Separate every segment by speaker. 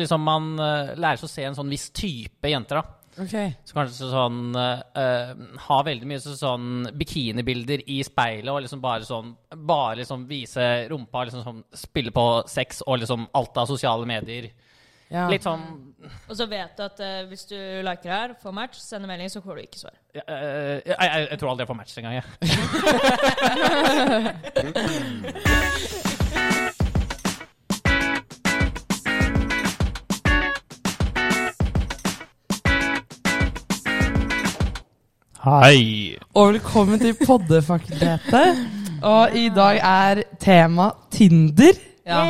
Speaker 1: liksom man eh, lærer seg å se en sånn viss type jenter, da.
Speaker 2: Ok.
Speaker 1: Så kanskje sånn eh, Har veldig mye så, sånn bikinibilder i speilet og liksom bare sånn Bare liksom vise rumpa, liksom sånn spille på sex og liksom alt av sosiale medier.
Speaker 2: Ja.
Speaker 1: Litt sånn
Speaker 3: Og så vet du at eh, hvis du liker det her, får match, sender melding, så får du ikke svar.
Speaker 1: eh, jeg, jeg, jeg tror aldri jeg får match engang, jeg. Hei.
Speaker 2: sånn. Og velkommen til Poddefakultetet. Og i dag er tema Tinder.
Speaker 4: Ja,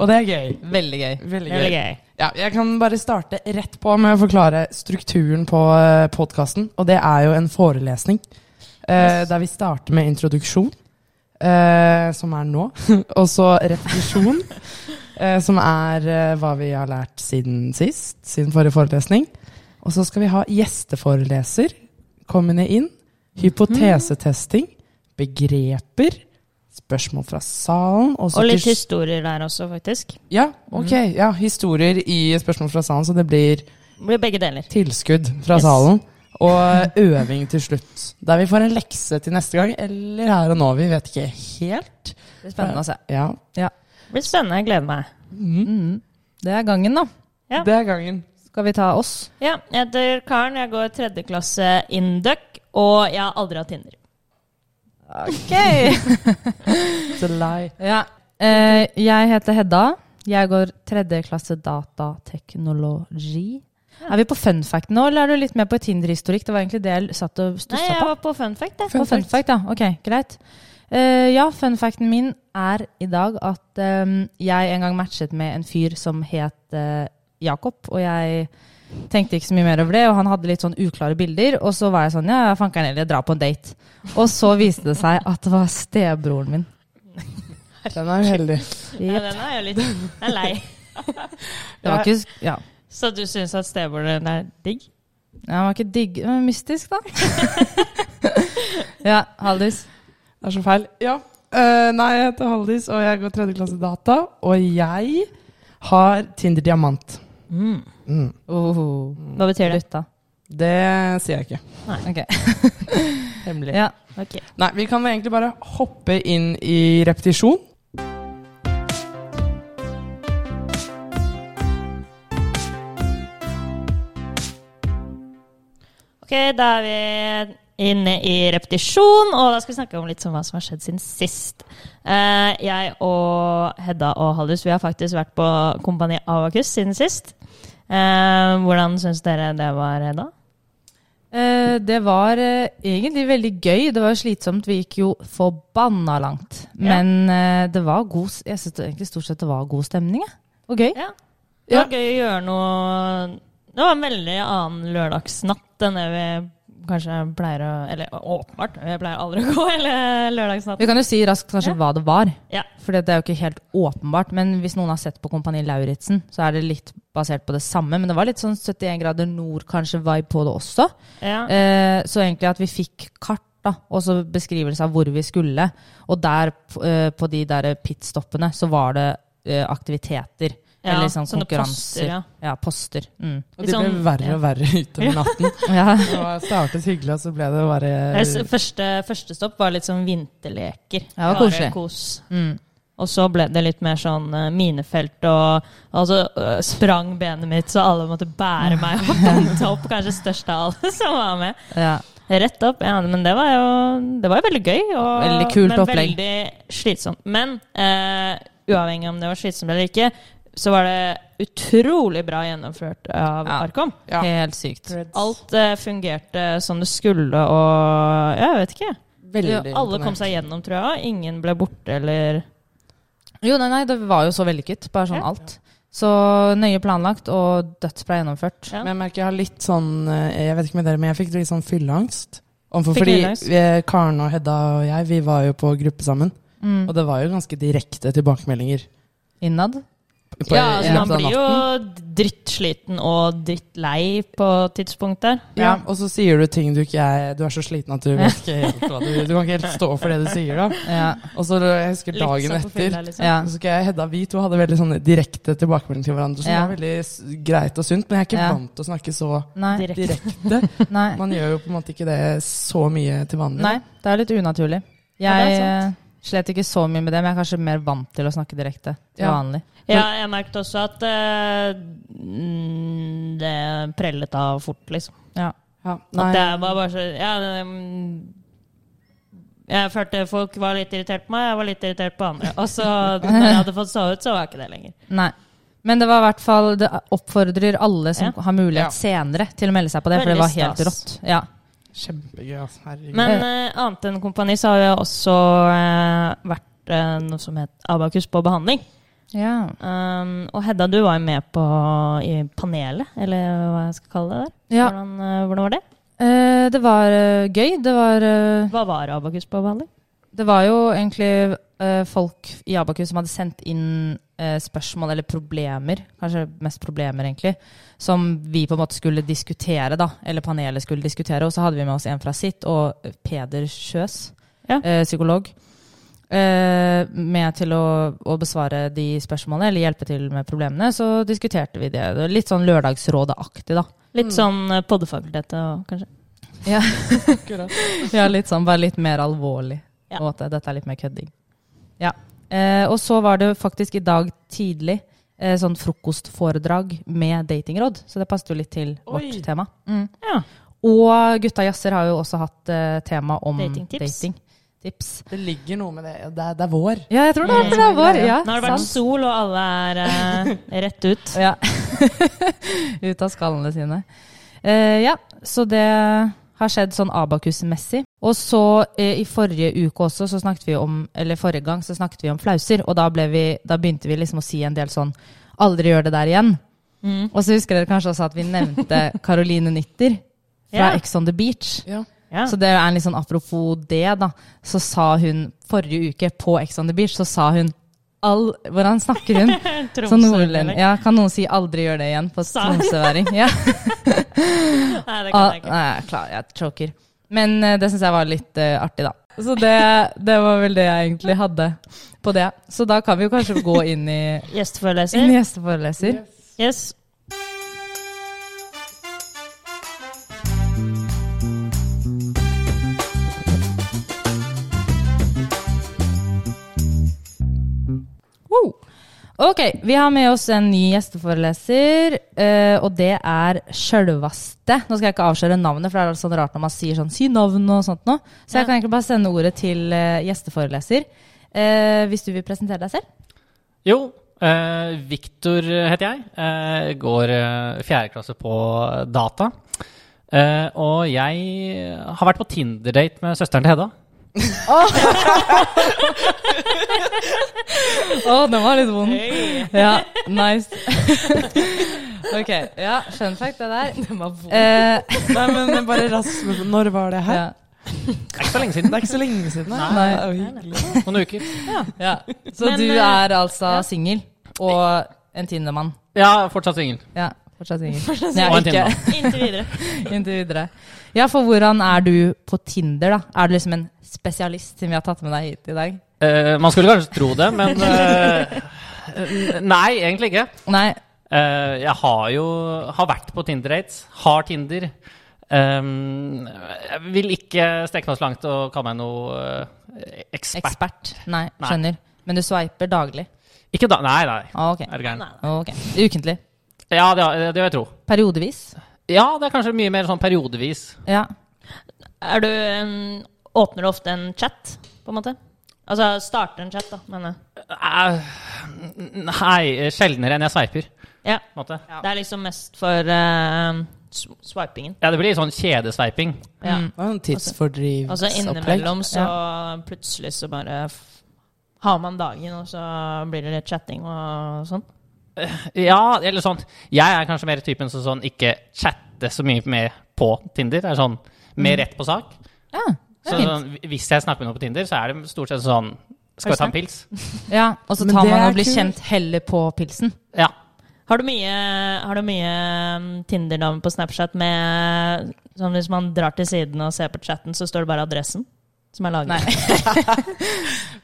Speaker 2: Og det er gøy.
Speaker 4: veldig gøy.
Speaker 2: Veldig gøy.
Speaker 3: Veldig gøy.
Speaker 2: Ja, jeg kan bare starte rett på med å forklare strukturen på podkasten. Og det er jo en forelesning eh, der vi starter med introduksjon, eh, som er nå. og så repetisjon, eh, som er eh, hva vi har lært siden sist, siden forrige forelesning. Og så skal vi ha gjesteforeleser kommende inn.
Speaker 3: Mhm.
Speaker 2: Hypotesetesting, begreper, spørsmål fra salen. Og, så
Speaker 3: Og
Speaker 2: til
Speaker 3: litt historier der også, faktisk.
Speaker 2: ja, ok. Ja, historier i spørsmål fra salen, så det blir
Speaker 3: Blir begge deler.
Speaker 2: tilskudd fra
Speaker 3: Yes.
Speaker 2: salen. Og øving til slutt. Der vi får en lekse til neste gang, eller her og nå. Vi vet ikke helt.
Speaker 4: Det blir spennende å se.
Speaker 2: Ja,
Speaker 3: Blir spennende. Jeg gleder meg.
Speaker 4: Mm. Det er gangen, da.
Speaker 3: Ja.
Speaker 2: Det er gangen.
Speaker 4: Skal vi ta oss?
Speaker 3: Ja, jeg heter Karen, jeg går tredje klasse Induc, og jeg har aldri hatt Tinder.
Speaker 4: Ok.
Speaker 2: The lie.
Speaker 4: ja. Eh, jeg heter Hedda. Jeg går tredje klasse datateknologi. Er vi på fun fact nå, eller er du litt mer på Tinder-historikk? Det var egentlig det jeg satt og
Speaker 3: Nei,
Speaker 4: stussa
Speaker 3: jeg
Speaker 4: på.
Speaker 3: var på fun fact, jeg.
Speaker 4: Fun, fun fact. ja. Ok, greit. Eh, ja, fun facten min er i dag at eh, jeg en gang matchet med en fyr som het eh, Jakob, og jeg tenkte ikke så mye mer over det, og han hadde litt sånn uklare bilder, og så var jeg sånn, ja, fankeren heller, jeg drar på en date. Og så viste det seg at det var stebroren min.
Speaker 2: Den er uheldig.
Speaker 3: Ja, den er jo litt Den er lei.
Speaker 4: Det var ikke, sk- ja,
Speaker 3: Så du syns at stemoren din er digg?
Speaker 4: det var ikke digg, men mystisk da. ja, Haldis.
Speaker 2: Det er så feil. Ja. Eh, nei, jeg heter Haldis, og jeg går tredje klasse data. Og jeg har Tinder diamant. Mm.
Speaker 4: Oh,
Speaker 3: Hva betyr det?
Speaker 4: Lutta.
Speaker 2: Det sier jeg ikke.
Speaker 4: Ok,
Speaker 2: Hemmelig.
Speaker 4: ja.
Speaker 3: Ok.
Speaker 2: Nei, vi kan egentlig bare hoppe inn i repetisjon.
Speaker 3: Ok, da er vi inne i repetisjon, og da skal vi snakke om litt om hva som har skjedd siden sist. Eh, jeg og Hedda og Haldis, vi har faktisk vært på Kompani Avakus siden sist. Eh, hvordan syns dere det var, Hedda?
Speaker 4: Eh, det var eh, egentlig veldig gøy. Det var jo slitsomt. Vi gikk jo forbanna langt.
Speaker 3: Ja.
Speaker 4: Men eh, det var god s- Jeg syns egentlig stort sett det var god stemning. jeg. Og gøy.
Speaker 3: Ja. Det var gøy å gjøre noe Det var en veldig annen lørdagsnatt enn det vi kanskje pleier å Eller åpenbart, vi pleier aldri å gå hele
Speaker 4: Vi
Speaker 3: lørdagsnatten.
Speaker 4: kan jo si raskt kanskje hva det var.
Speaker 3: Ja.
Speaker 4: For det er jo ikke helt åpenbart. Men hvis noen har sett på Kompani Lauritzen, så er det litt basert på det samme. Men det var litt sånn 71 grader nord kanskje vibe på det også.
Speaker 3: Ja.
Speaker 4: Eh, så egentlig at vi fikk kart da, og så beskrivelse av hvor vi skulle. Og der p- eh, på de der pitstoppene så var det eh, aktiviteter.
Speaker 3: Ja,
Speaker 4: eller sånn
Speaker 3: sånne poster,
Speaker 4: konkurranser.
Speaker 3: ja.
Speaker 4: ja. poster. Mm.
Speaker 2: Og
Speaker 3: Litt
Speaker 2: de ble
Speaker 3: sånn-
Speaker 2: verre og verre utover natten.
Speaker 4: Ja.
Speaker 2: Det var- startet hyggelig, og så ble det
Speaker 4: Eh,
Speaker 3: Jeg s-
Speaker 2: bare
Speaker 3: Første, første stopp var litt sånn vinterleker.
Speaker 4: Ja, det var
Speaker 3: Bare
Speaker 4: koselig.
Speaker 3: Kos.
Speaker 4: Mm.
Speaker 3: Og så ble det litt mer sånn eh, minefelt, og altså øh, sprang benet mitt, så alle måtte bære meg opp. Pumpe opp, kanskje størst av alle som var med.
Speaker 4: ja.
Speaker 3: Rett opp, ja, men det var jo, det var jo veldig gøy. Og,
Speaker 4: Veldig kult
Speaker 3: men
Speaker 4: opplegg.
Speaker 3: veldig slitsomt. Men eh, uavhengig om det var slitsomt eller ikke, så var det utrolig bra gjennomført av
Speaker 4: Ja.
Speaker 3: Arkom.
Speaker 2: Ja.
Speaker 4: Helt sykt.
Speaker 3: Alt eh, fungerte som det skulle, og jeg vet ikke.
Speaker 2: Veldig
Speaker 3: Alle kom seg gjennom, tror jeg. og Ingen ble borte, eller
Speaker 4: Jo, nei, nei, det var jo så vellykket. Bare sånn
Speaker 3: Ja.
Speaker 4: alt. Så nøye planlagt og dødsbra gjennomført.
Speaker 3: Ja.
Speaker 2: Men jeg merker jeg har litt sånn eh, Jeg vet ikke med dere, men jeg fikk litt sånn fylleangst. Overfor-
Speaker 3: Fikk
Speaker 2: fordi
Speaker 3: fylleangst?
Speaker 2: eh, Karen og Hedda og jeg, vi var jo på gruppe sammen.
Speaker 4: Mm.
Speaker 2: Og det var jo ganske direkte tilbakemeldinger.
Speaker 4: Innad.
Speaker 2: på
Speaker 3: ja,
Speaker 2: i
Speaker 3: altså, man
Speaker 2: løpet av
Speaker 3: blir jo
Speaker 2: natten.
Speaker 3: drittsliten og drittlei på tidspunkt der.
Speaker 2: Ja, og så sier du ting du ikke er Du er så sliten at du vet ikke helt hva du Du kan ikke helt stå for det du sier, da.
Speaker 4: Ja,
Speaker 2: Og så jeg husker dagen
Speaker 3: sånn på
Speaker 2: etter
Speaker 3: fylla, liksom.
Speaker 4: ja.
Speaker 2: så skal jeg Hedda, Vi to hadde veldig sånne direkte tilbakemeldinger til hverandre, som
Speaker 4: Ja.
Speaker 2: var veldig s- greit og sunt. Men jeg er ikke
Speaker 4: Ja.
Speaker 2: vant til å snakke så
Speaker 4: Nei.
Speaker 3: Direkte.
Speaker 2: direkte.
Speaker 4: Nei.
Speaker 2: Man gjør jo på en måte ikke det så mye til vanlig.
Speaker 4: Nei, det er litt unaturlig.
Speaker 3: Ja, det
Speaker 4: Jeg
Speaker 3: er
Speaker 4: eh, slet ikke så mye med det, men jeg er kanskje mer vant til å snakke direkte til
Speaker 2: Ja.
Speaker 4: vanlig.
Speaker 3: Ja, jeg merket også at eh, mm, det prellet av fort, liksom.
Speaker 4: Ja.
Speaker 2: Ja,
Speaker 3: At
Speaker 2: nei.
Speaker 3: det var bare så ja, mm, Jeg følte folk var litt irritert på meg, jeg var litt irritert på andre. Og så, når jeg hadde fått sove ut, så var ikke det lenger.
Speaker 4: Nei. Men det var i hvert fall Det oppfordrer alle som
Speaker 3: Ja.
Speaker 4: har
Speaker 2: Ja.
Speaker 4: mulighet senere, til å melde seg på det, for
Speaker 3: Veldig
Speaker 4: det var helt
Speaker 3: stas.
Speaker 4: rått. Ja.
Speaker 2: Kjempegøy, altså. Herregud.
Speaker 3: Men eh, annet enn kompani så har jeg også eh, vært eh, noe som het Abakus på behandling.
Speaker 4: ja.
Speaker 3: Um, og Hedda, du var jo med på i panelet, eller hva jeg skal kalle det der.
Speaker 4: Ja.
Speaker 3: Hvordan, eh, hvordan var det?
Speaker 4: Eh, det var eh, gøy. Det var eh,
Speaker 3: Hva var Abakus på behandling?
Speaker 4: Det var jo egentlig eh, folk i Abakus som hadde sendt inn eh, spørsmål eller problemer, kanskje mest problemer egentlig, som vi på en måte skulle diskutere, da, eller panelet skulle diskutere. Og så hadde vi med oss en fra sitt, og eh, Peder Sjøs,
Speaker 3: Ja.
Speaker 4: eh, psykolog, eh, med til å, å besvare de spørsmålene, eller hjelpe til med problemene. Så diskuterte vi det. det var litt sånn lørdagsrådeaktig, da.
Speaker 3: Litt sånn eh, poddefakultetet og kanskje.
Speaker 4: Ja. ja, litt sånn, bare litt mer alvorlig.
Speaker 3: Ja.
Speaker 4: Og at det- dette er litt mer kødding. Ja. Eh, og så var det faktisk i dag tidlig eh, sånn frokostforedrag med datingråd, så det passet jo litt til
Speaker 2: Oi.
Speaker 4: vårt tema. Mm.
Speaker 3: Ja.
Speaker 4: Og Gutta jazzer har jo også hatt eh, tema om
Speaker 3: Datingtips.
Speaker 4: datingtips. Tips.
Speaker 2: Det ligger noe med det. Det er, det er vår.
Speaker 4: Ja, jeg tror det er, det er vår. Ja,
Speaker 3: Nå har det vært
Speaker 4: sant.
Speaker 3: sol, og alle er eh, rett ut.
Speaker 4: Ja. Ut av skallene sine. Eh, ja, så det har skjedd sånn abakusmessig. Og så eh, i forrige uke også, så snakket vi om, eller forrige gang, så snakket vi om flauser. Og da, ble vi, da begynte vi liksom å si en del sånn Aldri gjør det der igjen.
Speaker 3: Mm.
Speaker 4: Og så husker dere kanskje også at vi nevnte Caroline Nitter fra
Speaker 3: Ja.
Speaker 4: Ex on the Beach.
Speaker 2: Ja.
Speaker 3: Ja.
Speaker 4: Så det er en litt sånn apropos det, da. Så sa hun forrige uke på Ex on the Beach, så sa hun all, Hvordan snakker hun? Så nordlending
Speaker 3: ja.
Speaker 4: Ja, kan noen si 'aldri gjør det igjen' på
Speaker 3: Sa-
Speaker 4: tromsøværing? Ja.
Speaker 3: Nei, det kan
Speaker 4: Ah,
Speaker 3: jeg ikke.
Speaker 4: nei, jeg er klar, jeg choker. Men eh, det syns jeg var litt eh, artig, da. Så det, det var vel det jeg egentlig hadde på det. Så da kan vi jo kanskje gå inn i, inn
Speaker 3: Gjesteforeleser.
Speaker 4: i gjesteforeleser.
Speaker 3: Yes.
Speaker 4: Wow. Ok, vi har med oss en ny gjesteforeleser, eh, og det er sjølvaste Nå skal jeg ikke avsløre navnet, for det er sånn rart når man sier sånn 'si navn' og sånt noe. Så
Speaker 3: Ja.
Speaker 4: jeg kan egentlig bare sende ordet til eh, gjesteforeleser. Eh, hvis du vil presentere deg selv?
Speaker 1: Jo, eh, Victor heter jeg. Eh, går eh, fjerde klasse på data. Eh, og jeg har vært på Tinder-date med søsteren til Hedda.
Speaker 4: Å, den var litt vond. Ja, nice. Ok, ja, fun fact det der. Den var vond. Eh,
Speaker 2: Nei, men bare raskt Når var det her?
Speaker 4: ja,
Speaker 1: Det er ikke så lenge siden.
Speaker 2: Det er ikke så lenge siden. da.
Speaker 4: Nei.
Speaker 2: Det er jo hyggelig.
Speaker 1: Noen uker.
Speaker 4: ja. Så
Speaker 3: Men,
Speaker 4: du
Speaker 3: eh,
Speaker 4: er altså singel og en Tinder-mann.
Speaker 1: Ja, fortsatt singel.
Speaker 4: Ja, fortsatt singel.
Speaker 1: singel. Og en
Speaker 4: ikke
Speaker 3: Inntil videre.
Speaker 4: inntil videre. Ja, for hvordan er du på Tinder, da? Er du liksom en spesialist siden vi har tatt med deg hit i dag?
Speaker 1: Eh, man skulle kanskje tro det, men eh, n- Nei, egentlig ikke.
Speaker 4: Nei.
Speaker 1: Eh, jeg har jo har vært på Tinder-dates. Har Tinder. Ehm, jeg vil ikke strekke meg så langt og kalle meg noe eh, ekspert.
Speaker 4: Ekspert. Nei,
Speaker 1: Nei.
Speaker 4: skjønner. Men du sveiper daglig?
Speaker 1: Ikke da, nei, nei.
Speaker 4: Ah, ok.
Speaker 1: Er du gæren?
Speaker 3: Nei,
Speaker 4: Ok. Ukentlig.
Speaker 1: Ja, det, det vil jeg tro.
Speaker 4: Periodevis?
Speaker 1: Ja, det er kanskje mye mer sånn periodevis.
Speaker 4: Ja.
Speaker 3: Er du en, Åpner du ofte en chat, på en måte? Altså starter en chat, da, mener jeg.
Speaker 1: Eh, nei, sjeldnere enn jeg sveiper. På
Speaker 3: Ja.
Speaker 1: en måte.
Speaker 3: Det er liksom mest for eh, s- swipingen. Mm.
Speaker 1: Ja, det blir sånn kjedesveiping.
Speaker 3: Ja.
Speaker 4: Mm.
Speaker 2: Det var en
Speaker 3: Og så
Speaker 2: tidsfordrivsopplegg.
Speaker 3: Altså, innimellom så plutselig så bare f har man dagen, og så blir det litt chatting og sånn.
Speaker 1: Ja, eller sånn Jeg er kanskje mer typen som sånn ikke chatter så mye med på Tinder. Det er sånn mer rett på sak.
Speaker 4: ja.
Speaker 1: Så sånn, hvis jeg snakker med noen på Tinder, så er det stort sett sånn Skal vi ta en pils?
Speaker 4: Ja, og så
Speaker 2: Men
Speaker 4: tar
Speaker 2: det
Speaker 4: man
Speaker 2: er
Speaker 4: og blir
Speaker 2: kult.
Speaker 4: kjent heller på pilsen.
Speaker 1: Ja.
Speaker 3: Har du mye, har du mye mm, Tinder-navn på Snapchat med sånn Hvis man drar til siden og ser på chatten, så står det bare adressen som er laget?
Speaker 4: Nei.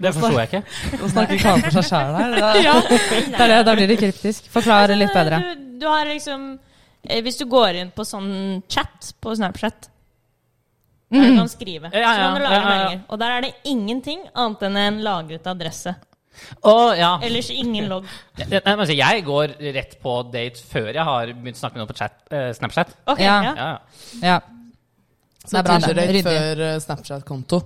Speaker 1: Det forsto jeg ikke.
Speaker 2: Nå snakker Karen for seg sjæl her.
Speaker 3: Ja.
Speaker 4: Det er det, da blir det kryptisk. Forklar litt bedre.
Speaker 3: Du, du har liksom eh, Hvis du går inn på sånn chat på Snapchat Der du kan skrive.
Speaker 1: Mm. Ja, ja,
Speaker 3: så kan du lagre
Speaker 1: ja, ja, ja.
Speaker 3: meldinger. Og der er det ingenting annet enn en lagret adresse.
Speaker 1: Å, ja.
Speaker 3: Ellers ingen logg.
Speaker 1: Jeg, jeg, jeg må si, altså, jeg går rett på date før jeg har begynt å snakke med noen på chat, eh, Snapchat.
Speaker 3: Ok,
Speaker 4: Ja.
Speaker 3: ja.
Speaker 1: Ja, ja.
Speaker 4: Ja. Det
Speaker 2: Så
Speaker 4: er bra, det.
Speaker 2: Tinder-date
Speaker 4: Ryddig.
Speaker 2: før eh, Snapchat-konto,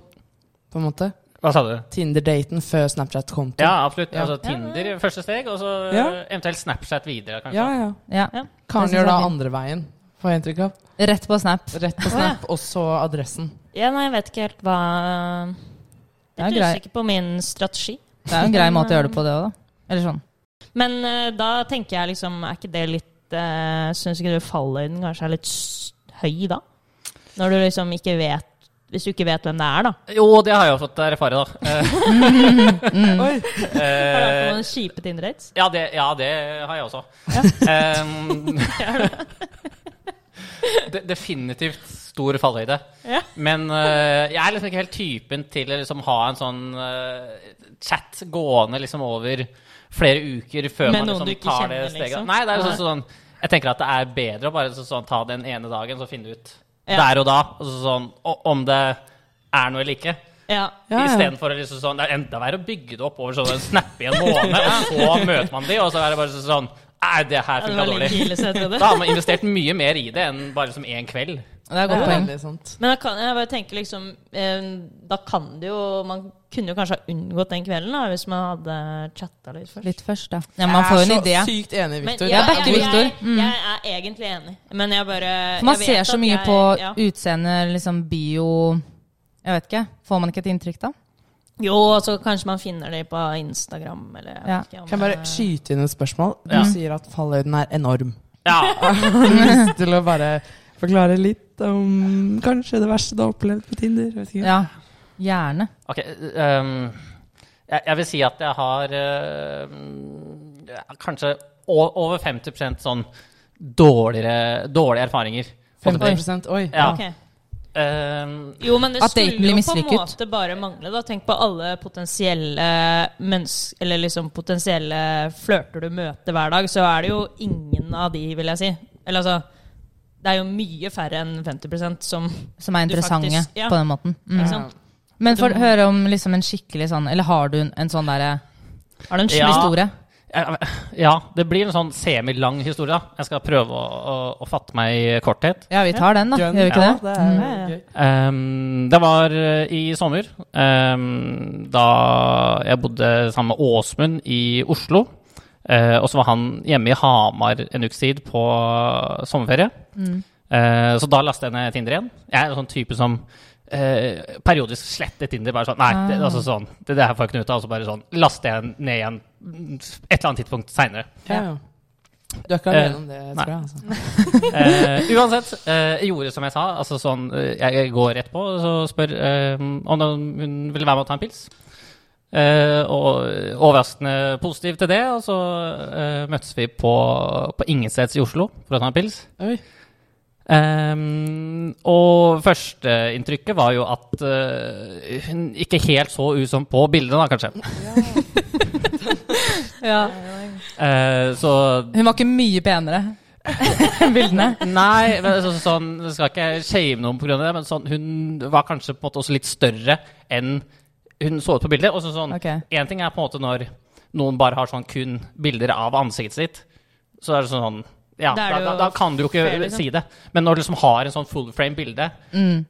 Speaker 2: på en måte.
Speaker 1: Hva sa du?
Speaker 2: Tinder-daten før Snapchat-konto.
Speaker 1: Ja, absolutt.
Speaker 2: Ja.
Speaker 1: Altså Tinder første steg, og så
Speaker 2: Ja.
Speaker 1: eh, eventuelt Snapchat videre, kanskje.
Speaker 2: ja, ja.
Speaker 4: ja.
Speaker 3: Ja.
Speaker 2: Karen
Speaker 4: Det synes jeg
Speaker 2: gjør da
Speaker 4: er fint.
Speaker 2: andre veien, får jeg inntrykk av.
Speaker 4: Rett på Snap.
Speaker 2: Rett på Snap, og så adressen.
Speaker 3: ja, nei, jeg vet ikke helt hva
Speaker 4: Det
Speaker 3: Jeg er
Speaker 4: er grei.
Speaker 3: litt usikker på min strategi.
Speaker 4: Det er jo en grei måte å gjøre det på, det òg, da. Eller sånn.
Speaker 3: Men eh, da tenker jeg liksom Er ikke det litt uh, Syns ikke du fallhøyden kanskje er litt s- høy da? Når du liksom ikke vet Hvis du ikke vet hvem det er, da.
Speaker 1: Jo, det har jeg jo fått erfare, da. Eh,
Speaker 2: Oi!
Speaker 3: Har du
Speaker 1: eh,
Speaker 3: hatt noen kjipe Tinder-dates?
Speaker 1: ja, det, ja, det har jeg også. Ehm, Em, de, definitivt stor fallhøyde.
Speaker 3: Ja.
Speaker 1: Men eh, jeg er liksom ikke helt typen til å liksom ha en sånn eh, chat gående liksom over flere uker før
Speaker 3: Med
Speaker 1: man
Speaker 3: noen
Speaker 1: liksom
Speaker 3: du ikke
Speaker 1: tar
Speaker 3: kjenner,
Speaker 1: det steget.
Speaker 3: liksom?
Speaker 1: Nei, det er jo sånn, sånn Jeg tenker at det er bedre å bare så, sånn, ta den ene dagen, så finne ut
Speaker 3: Ja.
Speaker 1: der og da og så, sånn, o- om det er noe eller ikke.
Speaker 3: Ja.
Speaker 2: Ja, ja.
Speaker 1: Istedenfor å liksom sånn Det er enda verre å bygge det opp over sånn en snappe i en måned, og så møter man de, og så er det bare så- sånn Nei, det her
Speaker 3: Det
Speaker 1: funka
Speaker 3: var litt
Speaker 1: dårlig.
Speaker 3: kile, så jeg trodde.
Speaker 1: Da har man investert mye mer i det enn bare som én kveld.
Speaker 4: Det er et
Speaker 2: Det
Speaker 4: godt
Speaker 2: er
Speaker 4: poeng.
Speaker 2: veldig sant.
Speaker 3: Men da kan, jeg bare tenker liksom eh, Da kan det jo Man kunne jo kanskje ha unngått den kvelden da, hvis man hadde chatta litt først.
Speaker 4: Litt først, da. Ja, man får jo en
Speaker 2: Jeg er
Speaker 4: idé.
Speaker 2: så sykt enig,
Speaker 3: Men
Speaker 2: Victor.
Speaker 3: ja,
Speaker 4: Jeg backer
Speaker 3: jeg, jeg,
Speaker 4: Victor. Mm.
Speaker 3: jeg er egentlig enig, men jeg bare
Speaker 4: For man
Speaker 3: jeg
Speaker 4: ser
Speaker 3: vet
Speaker 4: så
Speaker 3: at
Speaker 4: mye
Speaker 3: jeg-
Speaker 4: på
Speaker 3: ja.
Speaker 4: utseende, liksom bio Jeg vet ikke. Får man ikke et inntrykk da?
Speaker 3: Jo, og så kanskje man finner det på Instagram eller jeg vet
Speaker 4: Ja.
Speaker 3: ikke om
Speaker 2: Kan jeg bare
Speaker 3: det-
Speaker 2: skyte inn et spørsmål? Du
Speaker 1: Ja.
Speaker 2: sier at fallhøyden er enorm.
Speaker 1: Ja,
Speaker 2: Har du lyst til å bare forklare litt om kanskje det verste du har opplevd på Tinder? Vet ikke.
Speaker 4: Ja. Gjerne.
Speaker 1: Ok, ehm, jeg, jeg vil si at jeg har ehm, ja, kanskje o- over 50 sånn dårligere, dårlige erfaringer.
Speaker 2: 50 Oi.
Speaker 1: Ja.
Speaker 3: Ok.
Speaker 1: Ehm,
Speaker 3: Jo, men det
Speaker 4: At daten
Speaker 3: skulle jo på
Speaker 4: blir
Speaker 3: en
Speaker 4: mislykket.
Speaker 3: måte bare mangle. da Tenk på alle potensielle mens, Eller liksom potensielle flørter du møter hver dag, så er det jo ingen av de, vil jeg si. Eller altså Det er jo mye færre enn 50 som
Speaker 4: Som er
Speaker 3: Du
Speaker 4: interessante
Speaker 3: faktisk- ja.
Speaker 4: på den måten. Mm.
Speaker 3: ikke sant?
Speaker 4: Men for å høre om liksom en skikkelig sånn Eller har du en, en sånn derre
Speaker 3: Har du en
Speaker 1: Ja.
Speaker 3: ja.
Speaker 4: historie?
Speaker 1: ja, ja, det blir en sånn semilang historie. da. Jeg skal prøve å, å, å fatte meg i korthet.
Speaker 4: Ja, vi tar den, da. Gjør vi ikke
Speaker 2: ja,
Speaker 4: det?
Speaker 2: er
Speaker 3: Ja, ja.
Speaker 2: gøy.
Speaker 1: Ehm, det var eh, i sommer, ehm, da jeg bodde sammen med Åsmund i Oslo. Eh, og så var han hjemme i Hamar en ukes tid på sommerferie. Eh, så da lastet jeg ned Tinder igjen. Jeg er en sånn type som eh, periodisk sletter Tinder. Bare sånn Nei, det, altså sånn, det, det her får jeg ikke noe ut av. Og så bare sånn laster jeg den ned igjen mm, et eller annet tidspunkt seinere.
Speaker 2: Ja, ja. Du er ikke
Speaker 1: Eh,
Speaker 2: alene om det, tror jeg. Altså.
Speaker 1: Eh, uansett, eh, jeg gjorde som jeg sa. Altså sånn, eh, jeg, jeg går rett på og så spør eh, om hun ville være med og ta en pils. Eh, og overraskende positiv til det. Og så eh, møttes vi på, på Ingensteds i Oslo for å ta en pils.
Speaker 2: Oi.
Speaker 1: Um, og førsteinntrykket var jo at eh, hun ikke helt så ut som på bildene, da, kanskje. Eh, så
Speaker 4: Hun var ikke mye penere. Bildene.
Speaker 1: Nei, men så, sånn, jeg skal ikke shame noen pga. det, men sånn, hun var kanskje på en måte også litt større enn hun så ut på bildet. Og så sånn,
Speaker 4: Ok.
Speaker 1: En ting er på en måte når noen bare har sånn kun bilder av ansiktet sitt. Så er det sånn ja,
Speaker 3: Da
Speaker 1: da,
Speaker 3: er det
Speaker 1: da,
Speaker 3: jo
Speaker 1: da kan du jo ikke
Speaker 3: fair, liksom. Mm.
Speaker 1: si det. Men når du liksom har en sånn full frame-bilde,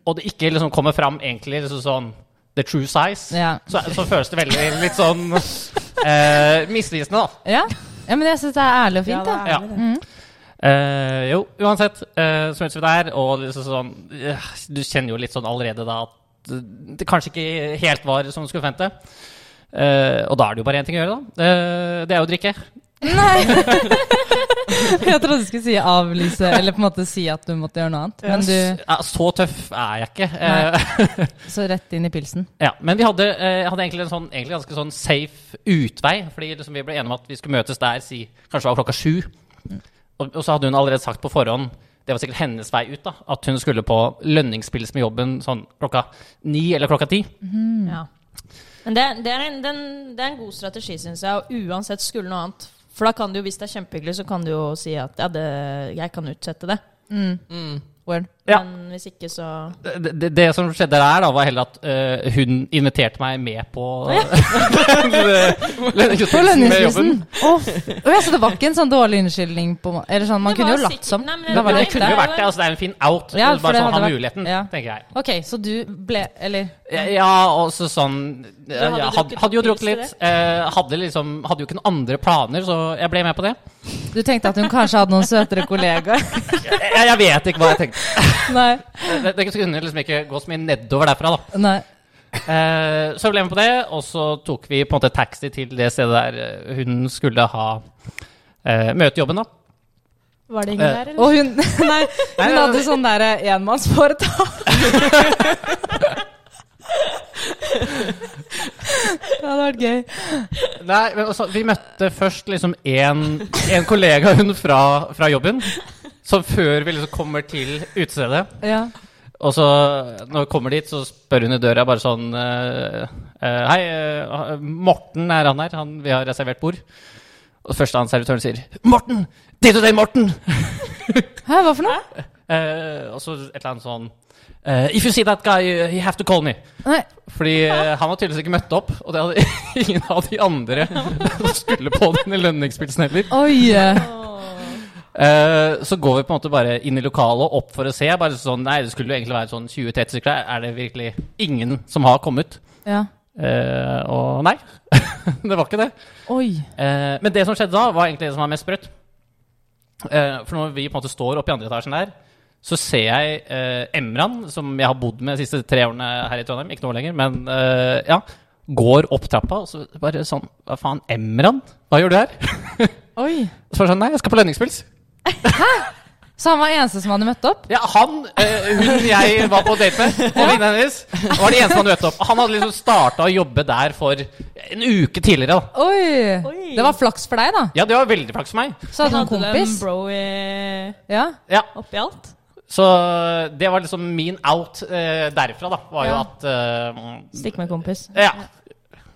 Speaker 1: og det ikke liksom kommer fram egentlig liksom sånn the true size,
Speaker 4: Ja.
Speaker 1: så, så føles det veldig litt sånn eh, misvisende, da.
Speaker 4: Ja. ja, men jeg syns det er ærlig og fint, da.
Speaker 1: Ja. Eh, jo, uansett, eh, så møtes vi der, og liksom sånn eh, Du kjenner jo litt sånn allerede da at eh, det kanskje ikke helt var som du skulle forvente. Eh, og da er det jo bare én ting å gjøre, da. Eh, det er jo å drikke.
Speaker 4: Nei. Jeg trodde du skulle si avlyse, eller på en måte si at du måtte gjøre noe annet. Men du,
Speaker 1: Ja, så tøff er jeg ikke.
Speaker 4: Nei.
Speaker 1: Eh,
Speaker 4: så rett inn i pilsen.
Speaker 1: Ja, men vi hadde, eh, hadde egentlig en sånn, egentlig ganske sånn safe utvei. Fordi liksom vi ble enige om at vi skulle møtes der si, kanskje det var klokka sju. Og, og så hadde hun allerede sagt på forhånd det var sikkert hennes vei ut da, at hun skulle på lønningspils med jobben sånn klokka ni eller klokka ti.
Speaker 3: Ja. Men det, det, er en, den, det er en god strategi, syns jeg. Og uansett skulle noe annet. For da kan du jo, hvis det er kjempehyggelig, så kan du jo si at ja, det, jeg kan utsette det.
Speaker 4: Word.
Speaker 1: Ja.
Speaker 3: Men hvis ikke, så
Speaker 1: Det, det, det som skjedde der, da, var heller at eh, hun inviterte meg med på lønningspilsen
Speaker 4: På
Speaker 1: med jobben.
Speaker 4: lønningsprisen! Å, f- å ja, så det var ikke en sånn dårlig unnskyldning på må- Eller sånn, man
Speaker 3: Det
Speaker 4: kunne
Speaker 3: var
Speaker 4: jo latt
Speaker 3: sikkert-
Speaker 4: som.
Speaker 3: Nei, men
Speaker 4: Da var
Speaker 1: Det
Speaker 4: det
Speaker 1: kunne
Speaker 4: ekte.
Speaker 1: jo vært det. altså Det er en fin out.
Speaker 4: Ja, for
Speaker 1: bare
Speaker 4: det
Speaker 1: sånn ha
Speaker 4: hadde vært-
Speaker 1: muligheten,
Speaker 4: ja.
Speaker 1: tenker jeg.
Speaker 4: Ok, så du ble Eller
Speaker 1: Ja, og så sånn ja,
Speaker 3: hadde
Speaker 1: ja,
Speaker 3: drukket
Speaker 1: hadde, hadde jo drukket
Speaker 3: pils i
Speaker 1: litt. Eh, hadde, liksom, hadde jo ikke noen andre planer, så jeg ble med på det.
Speaker 4: du tenkte at hun kanskje hadde noen søtere kollegaer?
Speaker 1: Eh, Jeg, jeg vet ikke hva jeg tenkte.
Speaker 4: Nei.
Speaker 1: Det, det kunne liksom ikke gå så mye nedover derfra, da.
Speaker 4: Nei.
Speaker 1: Eh, så ble jeg med på det, og så tok vi på en måte taxi til det stedet der eh, hun skulle ha eh, møtejobben, da.
Speaker 3: Var det
Speaker 1: ingen Eh,
Speaker 3: der,
Speaker 4: Og hun Nei, hun hadde sånn derre enmannsforetak. Det hadde vært gøy.
Speaker 1: Nei, men altså, vi møtte først liksom en, en kollega hun fra, fra jobben, som før vi liksom kommer til utestedet.
Speaker 4: Ja.
Speaker 1: Og så, når vi kommer dit, så spør hun i døra bare sånn eh, eh, Hei, eh, Morten er han her. Han, vi har reservert bord. Og det første han servitøren sier, 'Morten! Day to day, Morten!'
Speaker 4: Hæ, hva for noe?
Speaker 1: Eh, og så et eller annet sånn eh, 'If you see that guy, you have to call me'.
Speaker 4: Nei.
Speaker 1: Fordi eh, han har tydeligvis ikke møtt opp, og det hadde ingen av de andre som skulle på denne lønningspilsen heller.
Speaker 4: Oi. eh,
Speaker 1: Eh, så går vi på en måte bare inn i lokalet og opp for å se. Bare sånn, nei, Det skulle jo egentlig være sånn 20-30 stykker her. Er det virkelig ingen som har kommet?
Speaker 4: Ja.
Speaker 1: Eh, og nei, det var ikke det.
Speaker 4: Oi.
Speaker 1: Eh, men det som skjedde da, var egentlig det som var mest sprøtt. Eh, for når vi på en måte står oppe i andre etasjen der, så ser jeg eh, Emran, som jeg har bodd med de siste tre årene her i Trondheim, ikke nå lenger, men eh, ja, går opp trappa, og så bare sånn Hva faen, Emran? Hva gjør du her?
Speaker 4: Oi.
Speaker 1: Så var jeg sånn, nei, jeg skal på lønningspils.
Speaker 4: Så han var eneste som hadde møtt opp?
Speaker 1: Ja, han, eh, hun jeg var på date med, og venninnen hennes, var de eneste han møtte opp. Han hadde liksom starta å jobbe der for en uke tidligere, da.
Speaker 4: Oi.
Speaker 3: Oi.
Speaker 4: Det var flaks for deg, da.
Speaker 1: Ja, det var veldig flaks for meg.
Speaker 4: Så hadde du en kompis.
Speaker 3: en bro i-
Speaker 4: Ja.
Speaker 1: Ja,
Speaker 3: oppi alt?
Speaker 1: Så det var liksom min out eh, derfra, da. Var jo
Speaker 4: Ja.
Speaker 1: at eh,
Speaker 3: Stikk med kompis.
Speaker 1: Ja.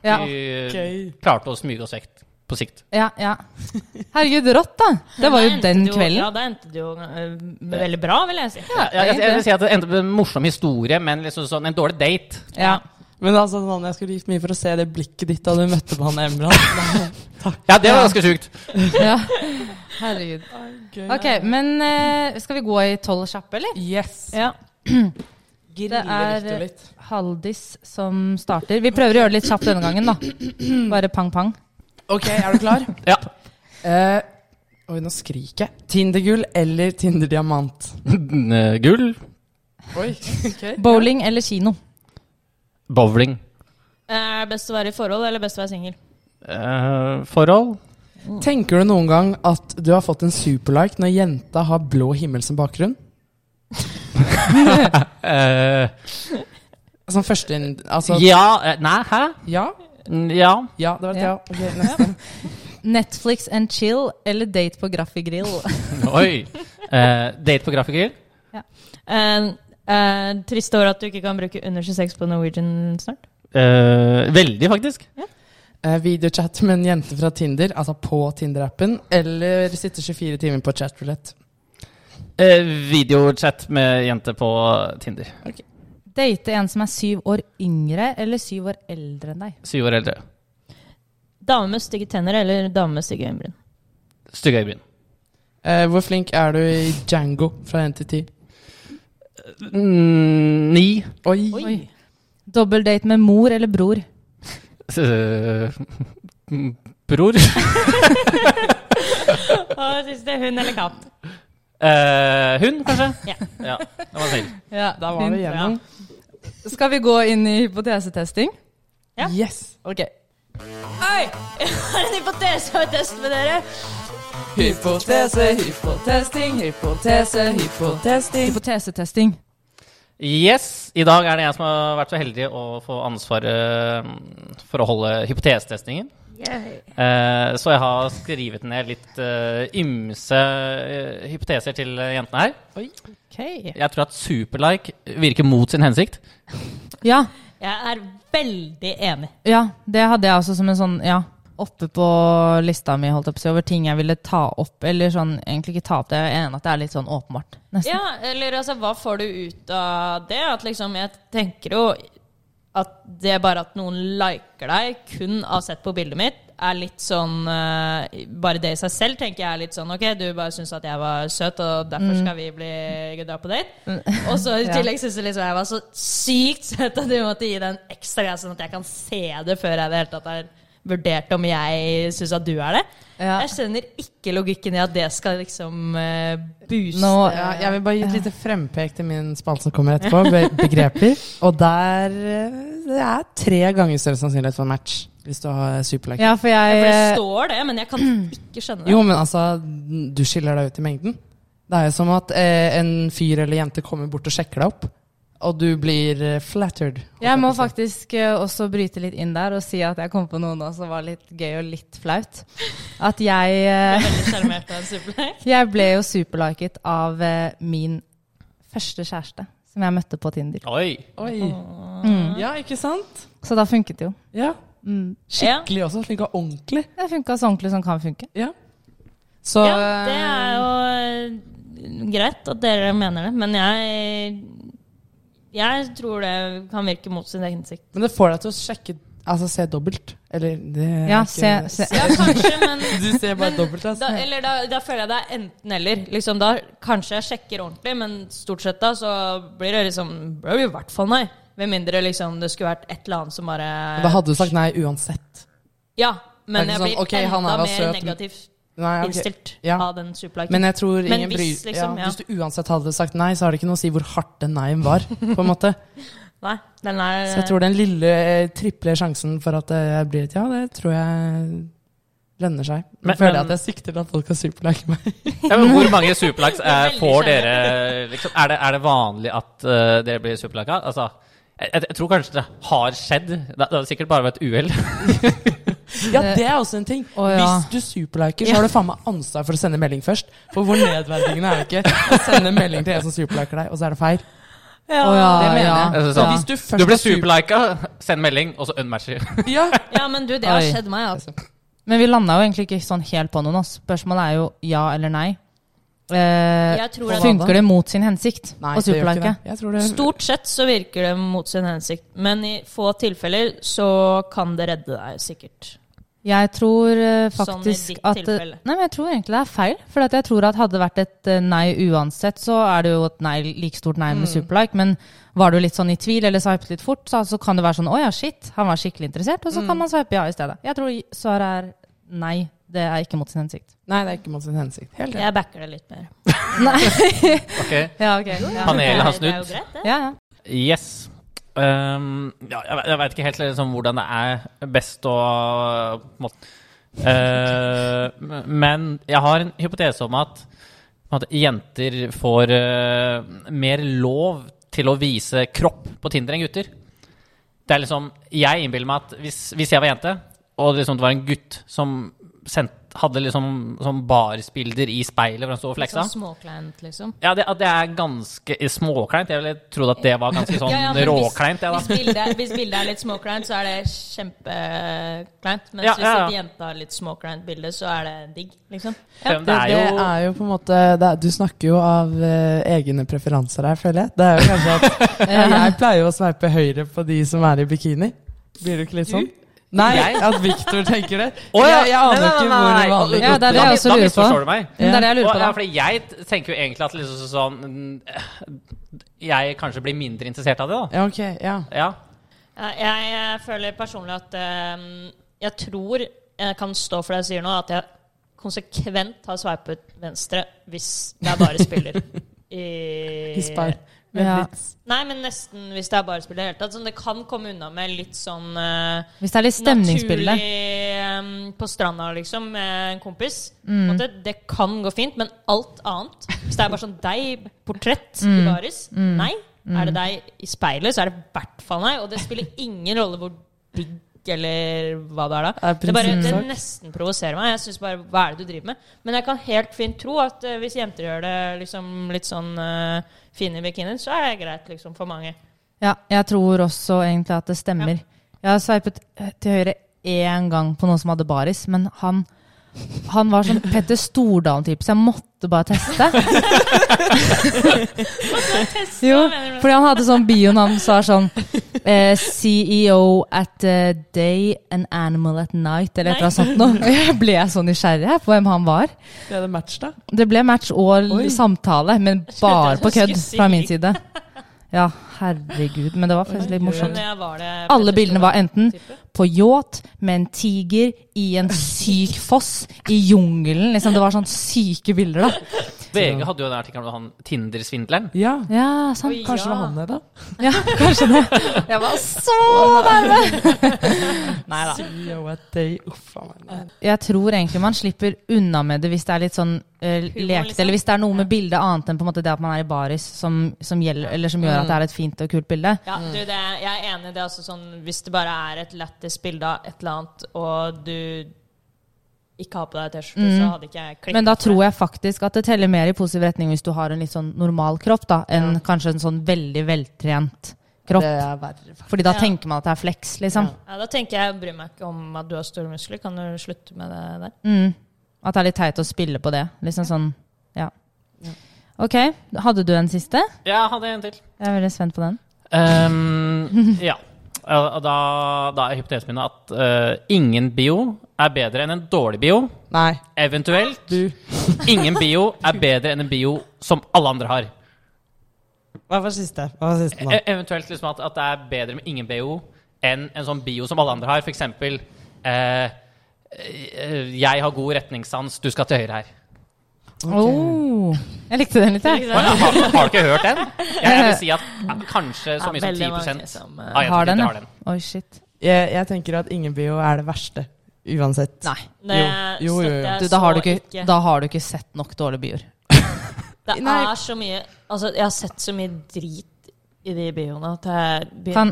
Speaker 4: Ja.
Speaker 1: Vi
Speaker 2: Gøy.
Speaker 1: klarte å smyge oss vekk på sikt.
Speaker 4: ja, ja. Herregud, rått, da. Det var jo
Speaker 3: Men da endte
Speaker 4: den
Speaker 3: det jo- Ja,
Speaker 4: kvelden.
Speaker 3: da endte det jo eh, veldig bra, vil jeg si.
Speaker 1: Ja, jeg, jeg, jeg vil si at det endte med en morsom historie, men liksom sånn en dårlig date.
Speaker 4: Ja.
Speaker 2: Men altså, sånn, jeg skulle gitt mye for å se det blikket ditt da du møtte på han Emran.
Speaker 1: Ja, det var ganske sjukt.
Speaker 4: ja. Herregud. Ok, men eh, skal vi gå i tolv kjappe, eller?
Speaker 2: Yes.
Speaker 4: Ja.
Speaker 2: Grille
Speaker 4: er-
Speaker 2: litt og litt.
Speaker 4: Haldis som starter. Vi prøver å gjøre det litt kjapt denne gangen, da. Bare pang, pang.
Speaker 2: Ok, er du klar?
Speaker 1: Ja.
Speaker 2: Eh, oi, nå skriker jeg. Tindergull eller Tinderdiamant?
Speaker 1: Eh, Gull,
Speaker 2: Oi, ok.
Speaker 4: Bowling eller kino?
Speaker 1: bowling,
Speaker 3: Eh, Er det best å være i forhold, eller best å være singel?
Speaker 1: eh, forhold.
Speaker 2: Tenker du noen gang at du har fått en superlike når jenta har blå himmel som bakgrunn?
Speaker 1: Eh,
Speaker 2: Som første inn- Altså,
Speaker 1: ja eh, Nei, hæ?
Speaker 2: ja?
Speaker 1: Mm, Ja.
Speaker 2: Ja, det var et ja.
Speaker 4: Ja.
Speaker 2: Ok, neste.
Speaker 4: Netflix and chill eller date på Graffigrill?
Speaker 1: Oi. Eh, date på grafiker?
Speaker 3: Eh, eh, triste år at du ikke kan bruke under 26 på Norwegian snart.
Speaker 1: Eh, veldig, faktisk.
Speaker 2: Eh, videochat med en jente fra Tinder, altså på Tinder-appen, eller sitte 24 timer på chatroulette.
Speaker 1: Eh, videochat med jente på Tinder.
Speaker 4: Date en som er syv år yngre eller syv år eldre enn deg?
Speaker 1: Syv år eldre.
Speaker 3: Dame med stygge tenner eller dame med stygge øyenbryn?
Speaker 1: Stygge øyebryn.
Speaker 2: Eh, hvor flink er du i Django fra 1 til 10?
Speaker 1: Mm, Ni.
Speaker 2: Oi!
Speaker 4: Oi. Dobbeldate med mor eller bror?
Speaker 1: Eh, Bror.
Speaker 3: Og siste hund eller katt?
Speaker 1: Eh, hun, kanskje?
Speaker 3: Ja.
Speaker 1: ja. Det var snill.
Speaker 4: Ja,
Speaker 2: Da var vi igjennom.
Speaker 4: Skal vi gå inn i hypotesetesting?
Speaker 3: Ja.
Speaker 2: Yes!
Speaker 4: Ok.
Speaker 3: Oi! Jeg har en hypotese og en test med dere.
Speaker 2: Hypotese, hypotesting, hypotese, hypotesting.
Speaker 4: Hypotesetesting.
Speaker 1: Yes, i dag er det jeg som har vært så heldig å få ansvaret mm, for å holde hypotesetestingen. Eh, så jeg har skrevet ned litt eh, ymse eh, hypoteser til eh, jentene her. Jeg tror at superlike virker mot sin hensikt.
Speaker 4: Ja,
Speaker 3: Jeg er veldig enig.
Speaker 4: ja, det hadde jeg også som en sånn Ja, oppe på lista mi, holdt jeg på å si, over ting jeg ville ta opp. Eller sånn, egentlig ikke ta opp det, jeg er enig at det er litt sånn åpenbart. Nesten.
Speaker 3: Ja, eller altså, hva får du ut av det? At liksom, jeg tenker jo at det bare at noen liker deg, kun har sett på bildet mitt, er litt sånn eh, Bare det i seg selv tenker jeg er litt sånn Ok, du bare syns at jeg var søt, og derfor skal vi bli dra på date. Og så i
Speaker 4: Mm. Ja.
Speaker 3: tillegg syns du liksom jeg var så sykt søt at du måtte gi den ekstra greia, sånn at jeg kan se det før jeg i det hele tatt har vurdert om jeg syns at du er det.
Speaker 4: Ja.
Speaker 3: Jeg skjønner ikke logikken i at det skal liksom eh, booste
Speaker 4: Nå,
Speaker 2: Ja, jeg vil bare gi et lite frempek til min spalte som kommer etterpå, be begreper. Og der eh, Det er tre ganger større sannsynlighet for en match hvis du har superlike.
Speaker 4: ja, for jeg
Speaker 3: For det står det, men jeg kan ikke skjønne det.
Speaker 2: Jo, men altså, du skiller deg ut i mengden. Det er jo som at eh, en fyr eller jente kommer bort og sjekker deg opp, og du blir eh, flattered. holdt
Speaker 4: Jeg
Speaker 2: på
Speaker 4: må
Speaker 2: å si.
Speaker 4: faktisk eh, også bryte litt inn der og si at jeg kom på noe nå som var litt gøy og litt flaut. At jeg, eh,
Speaker 3: Veldig sjarmert av en superlek.
Speaker 4: jeg ble jo superliket av eh, min første kjæreste, som jeg møtte på Tinder.
Speaker 1: Oi!
Speaker 2: Oi. Ja, ikke sant?
Speaker 4: Så da funket det jo.
Speaker 2: Ja.
Speaker 4: Mm.
Speaker 2: Skikkelig også, slik og ordentlig.
Speaker 4: Det funka så ordentlig som kan funke.
Speaker 2: Ja. Så eh,
Speaker 3: Ja, det er jo eh, greit at dere mener det, men jeg jeg tror det kan virke mot sin hensikt.
Speaker 2: Men det får deg til å sjekke Altså se dobbelt. Eller det er
Speaker 4: Ja,
Speaker 2: ikke-
Speaker 4: se- se-
Speaker 3: Ja, kanskje, men
Speaker 2: Du ser bare dobbelt, altså.
Speaker 3: da, eller da, da føler jeg det er enten-eller. Liksom, da kanskje jeg sjekker ordentlig, men stort sett da så blir det liksom Det blir i hvert fall nei. Med mindre liksom, det skulle vært et eller annet som bare
Speaker 2: Da hadde du sagt nei uansett.
Speaker 3: Ja, men
Speaker 2: Det er ikke
Speaker 3: jeg blir
Speaker 2: sånn, ok, han
Speaker 3: enda
Speaker 2: her var
Speaker 3: mer
Speaker 2: søt, men-
Speaker 3: negativt
Speaker 2: Nei, ok.
Speaker 3: innstilt
Speaker 2: Ja.
Speaker 3: av den superliken.
Speaker 2: Men jeg tror
Speaker 3: Men
Speaker 2: ingen
Speaker 3: hvis,
Speaker 2: bryr
Speaker 3: liksom,
Speaker 2: ja,
Speaker 3: ja.
Speaker 2: Hvis du uansett hadde sagt nei, så har det ikke noe å si hvor hardt den nei-en var. På en måte
Speaker 3: Nei, den er
Speaker 2: Så jeg tror den lille eh, triple sjansen for at det blir et ja, det tror jeg lønner seg.
Speaker 1: Men-
Speaker 2: Men, føler
Speaker 1: men-
Speaker 2: jeg at jeg sikter til at folk har superlike meg.
Speaker 1: Ja, men hvor mange superlikes er,
Speaker 3: Veldig
Speaker 1: får
Speaker 3: sjelden.
Speaker 1: dere? Liksom, er, det, er det vanlig at eh, dere blir superlika? Altså, jeg, jeg- jeg tror kanskje det har skjedd. Det, det har sikkert bare vært uhell.
Speaker 2: Ja, det er også en ting.
Speaker 4: Å, ja.
Speaker 2: Hvis du superliker, så har du faen meg ansvar for å sende melding først. For hvor nedverdigende er det ikke å sende melding til en som superliker deg, og så er det feil?
Speaker 3: ja.
Speaker 4: Å, ja,
Speaker 2: Det mener
Speaker 4: ja.
Speaker 2: jeg.
Speaker 1: Altså,
Speaker 2: Så
Speaker 1: sånn,
Speaker 2: hvis du først
Speaker 1: Du blir
Speaker 2: har super-
Speaker 1: superlika, send melding, og så unmatcher.
Speaker 2: Ja,
Speaker 3: ja, men du, det har
Speaker 4: Oi.
Speaker 3: skjedd meg, altså.
Speaker 4: Men vi landa jo egentlig ikke sånn helt på noen. ass. Spørsmålet er jo ja eller nei. Eh,
Speaker 3: Jeg tror at
Speaker 4: funker det mot sin hensikt
Speaker 2: Nei,
Speaker 4: å
Speaker 2: det gjør ikke
Speaker 4: superlike?
Speaker 2: det. Jeg tror det
Speaker 3: Stort sett så virker det mot sin hensikt, men i få tilfeller så kan det redde deg sikkert.
Speaker 4: Jeg tror
Speaker 3: Sånn
Speaker 4: eh,
Speaker 3: i
Speaker 4: faktisk
Speaker 3: ditt
Speaker 4: at
Speaker 3: tilfelle.
Speaker 4: Nei, men jeg tror egentlig det er feil. For at jeg tror at hadde det vært et eh, nei uansett, så er det jo et nei like stort nei med
Speaker 3: Mm.
Speaker 4: superlike. Men var du litt sånn i tvil eller sveipet litt fort, så, så kan det være sånn å ja, shit, han var skikkelig interessert. Og så
Speaker 3: Mm.
Speaker 4: kan man sveipe ja i stedet. Jeg tror svaret er nei. Det er ikke mot sin hensikt.
Speaker 2: Nei, det er ikke mot sin hensikt. Helt enig.
Speaker 3: Jeg backer det litt mer.
Speaker 1: Ok,
Speaker 4: Ja, ok. Ja,
Speaker 1: Panelet har
Speaker 3: Det er jo
Speaker 1: snudd.
Speaker 3: greit, det.
Speaker 4: ja.
Speaker 1: Yes. Um, ja, jeg, ve- jeg veit ikke helt liksom, hvordan det er best å på en måte, Eh, Men jeg har en hypotese om at, på en måte, jenter får eh, mer lov til å vise kropp på Tinder enn gutter. Det er liksom, Jeg innbiller meg at hvis, hvis jeg var jente, og liksom det var en gutt som sendt, hadde liksom sånn barsbilder i speilet hvor han sto og fleksa
Speaker 3: Sånn småkleint, liksom.
Speaker 1: ja, det, at det er ganske småkleint. Jeg ville trodd at det var ganske sånn
Speaker 3: men hvis,
Speaker 1: råkleint. jeg,
Speaker 3: hvis, bildet, er- hvis bildet er litt småkleint, så er det kjempekleint. Men
Speaker 1: Ja,
Speaker 3: hvis
Speaker 1: ja, ja.
Speaker 3: et jente har litt småkleint bilde, så er det digg, liksom.
Speaker 1: da. Selv om
Speaker 2: Det, det er jo på en måte det er, Du snakker jo av eh, egne preferanser her, føler jeg. Det er jo kanskje at eh, Jeg pleier jo å sveipe høyre på de som er i bikini. Blir du ikke litt sånn? Nei,
Speaker 1: Jeg?
Speaker 2: at Victor tenker det.
Speaker 1: Å, ja.
Speaker 2: Jeg, jeg aner
Speaker 1: Nei, nei,
Speaker 2: ikke
Speaker 1: nei,
Speaker 2: hvor
Speaker 1: nei.
Speaker 2: vanlig
Speaker 4: Ja, det er det jeg også
Speaker 1: da,
Speaker 4: lurer på.
Speaker 1: misforstår du meg.
Speaker 4: Men det er det jeg
Speaker 1: Og-
Speaker 4: lurer på,
Speaker 1: ja,
Speaker 4: da.
Speaker 1: fordi jeg t- tenker jo egentlig at liksom sånn mm, Jeg kanskje blir mindre interessert av det, da.
Speaker 2: Ja, ok, ja.
Speaker 1: Ja.
Speaker 3: Ja, Jeg, jeg føler personlig at eh, jeg tror jeg kan stå for det jeg sier nå, at jeg konsekvent har sveipet venstre hvis det er bare spiller. I,
Speaker 2: I speil.
Speaker 3: med
Speaker 4: Ja.
Speaker 3: blitz. Nei, men nesten hvis det er barspill i det hele tatt. Sånn, det kan komme unna med litt sånn eh,
Speaker 4: Hvis det er litt stemningsbilde.
Speaker 3: Naturlig eh, på stranda, liksom, med en kompis.
Speaker 4: Mm.
Speaker 3: På en måte, det kan gå fint, men alt annet Hvis det er bare sånn deg, portrett
Speaker 4: Mm.
Speaker 3: i baris Nei. Er det deg i speilet, så er det i hvert fall nei. Og det spiller ingen rolle hvor digg eller hva det er da.
Speaker 2: Er
Speaker 3: det, bare, det
Speaker 2: prinsippsak.
Speaker 3: nesten provoserer meg. Jeg synes bare, Hva er det du driver med? Men jeg kan helt fint tro at eh, hvis jenter gjør det liksom, litt sånn eh, fine i bikinien, så er det greit liksom, for mange.
Speaker 4: Ja, jeg tror også egentlig at det stemmer. Jeg har sveipet eh, til høyre én gang på noen som hadde baris, men han, han var sånn Petter Stordalen-type, så jeg måtte bare teste. jo, fordi han hadde sånn bioen hans var sånn eh, CEO at eh, day and animal at night, eller et eller annet sånt noe. Og Jeg ble så nysgjerrig her på hvem han var.
Speaker 2: Ble det match, da?
Speaker 4: Det ble match og
Speaker 2: Oi.
Speaker 4: samtale, men bare på kødd
Speaker 3: Skulle si.
Speaker 4: fra min side. Ja, herregud. Men det var faktisk litt morsomt.
Speaker 3: Men jeg var det
Speaker 4: Alle bildene var enten
Speaker 3: Type.
Speaker 4: på yacht, med en tiger, i en syk foss, i jungelen. Liksom, det var sånn syke bilder, da.
Speaker 1: VG hadde jo en artikkel om han Tinder-svindleren.
Speaker 2: Ja.
Speaker 4: Ja, sant.
Speaker 3: Oi.
Speaker 2: Kanskje det
Speaker 3: Ja.
Speaker 2: var han der, da?
Speaker 4: Ja, kanskje det. Jeg var så nærme! Nei da.
Speaker 2: CEO at day. Uff a meg.
Speaker 4: Jeg tror egentlig man slipper unna med det hvis det er litt sånn eh, lekete,
Speaker 3: liksom.
Speaker 4: eller hvis det er noe med bildet annet enn på en måte det at man er i baris som, som, gjelder, eller som
Speaker 3: Mm.
Speaker 4: gjør at det er et fint og kult bilde.
Speaker 3: Ja, du, det, jeg er enig. i Det er altså sånn Hvis det bare er et lættis bilde av et eller annet, og du ikke har på deg T-skjorte, så hadde ikke jeg klikket
Speaker 4: Mm. Men da tror jeg faktisk at det teller mer i positiv retning hvis du har en litt sånn normal kropp, da, enn kanskje en sånn veldig veltrent kropp.
Speaker 2: Det er verre.
Speaker 4: Fordi da
Speaker 3: Ja.
Speaker 4: tenker man at det er flex, liksom.
Speaker 3: ja, Da tenker jeg bryr meg ikke om at du har store muskler. Kan du slutte med det der?
Speaker 4: Mm. At det er litt teit å spille på det. Liksom sånn, ja. Ok, hadde du en siste?
Speaker 1: Ja, jeg hadde en til.
Speaker 4: Jeg er veldig spent på den.
Speaker 1: Ehm, ja. Eh, og Da, da er hypotesen min at eh, ingen bio er bedre enn en dårlig bio.
Speaker 2: Nei.
Speaker 1: Eventuelt
Speaker 2: Du.
Speaker 1: ingen bio er bedre enn en bio som alle andre har.
Speaker 2: Hva var siste? Hva var siste
Speaker 1: E
Speaker 2: nå?
Speaker 1: eventuelt liksom at, at det er bedre med ingen bio enn en sånn bio som alle andre har. F.eks.: eh, eh, Jeg har god retningssans, du skal til høyre her.
Speaker 4: Oh, jeg likte den litt, jeg.
Speaker 1: Å ja, Har, har du ikke hørt den? Jeg vil si at eh, kanskje så
Speaker 3: Ja,
Speaker 1: mye som
Speaker 3: veldig mange
Speaker 1: 10
Speaker 3: som, eh,
Speaker 1: av jenter
Speaker 4: Har den,
Speaker 1: har
Speaker 4: ja.
Speaker 1: den.
Speaker 4: Oi, shit.
Speaker 2: Jeg, jeg tenker at ingen bio er det verste. Uansett.
Speaker 4: Nei.
Speaker 3: Det
Speaker 2: Jo, jo, jo, jo.
Speaker 3: støtter jeg
Speaker 4: Du, da, har du
Speaker 3: så
Speaker 4: ikke, da har du ikke sett nok dårlige byer.
Speaker 3: Det
Speaker 2: Nei.
Speaker 3: er så mye Altså, jeg har sett så mye drit i de bioene at jeg begynner
Speaker 4: Kan,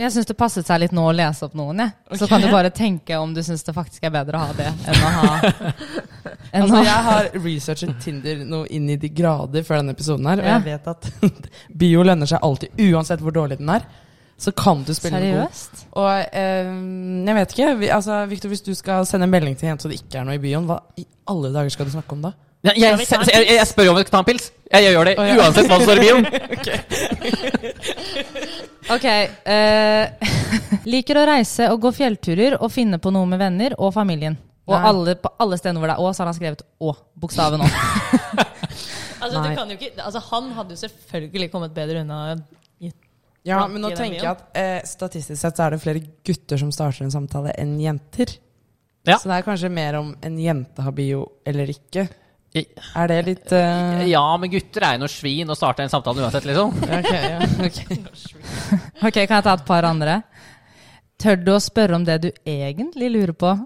Speaker 4: jeg syns det passet seg litt nå å lese opp noen, jeg. Så kan du bare tenke om du syns det faktisk er bedre å ha det enn å ha enn
Speaker 2: Altså,
Speaker 4: å-
Speaker 2: jeg har researchet Tinder noe inn i de grader før denne episoden her, og
Speaker 4: Ja.
Speaker 2: jeg vet at bio lønner seg alltid, uansett hvor dårlig den er. Så kan du spille den god.
Speaker 4: Seriøst?
Speaker 2: Og eh, jeg vet ikke, vi, altså, Victor, hvis du skal sende en melding til en jente og det ikke er noe i byen, hva i alle dager skal du snakke om da?
Speaker 1: Ja,
Speaker 3: Skal
Speaker 1: jeg,
Speaker 3: vi ta en
Speaker 1: se- jeg, jeg spør jo om vi skal ta en pils. Jeg, jeg gjør det uansett hva som står i bioen.
Speaker 4: Ok. eh, liker å reise og gå fjellturer og finne på noe med venner og familien. Og
Speaker 2: Nei.
Speaker 4: alle, på alle stedene hvor det er Å, så har han skrevet Å. Bokstaven Å.
Speaker 3: Altså,
Speaker 2: Nei.
Speaker 3: du kan jo ikke Altså, han hadde jo selvfølgelig kommet bedre unna.
Speaker 2: Ja,
Speaker 3: Snakke
Speaker 2: men nå
Speaker 3: i den
Speaker 2: tenker jeg
Speaker 3: bioen.
Speaker 2: at eh, statistisk sett så er det flere gutter som starter en samtale enn jenter.
Speaker 1: Ja.
Speaker 2: Så det er kanskje mer om en jente har bio eller ikke.
Speaker 1: I-
Speaker 2: Er det litt eh,
Speaker 1: Ja, men gutter er jo noe svin og starter en samtale uansett, liksom.
Speaker 2: ok, ja, ok.
Speaker 4: Ok, kan jeg ta et par andre? Tør du å spørre om det du egentlig lurer på?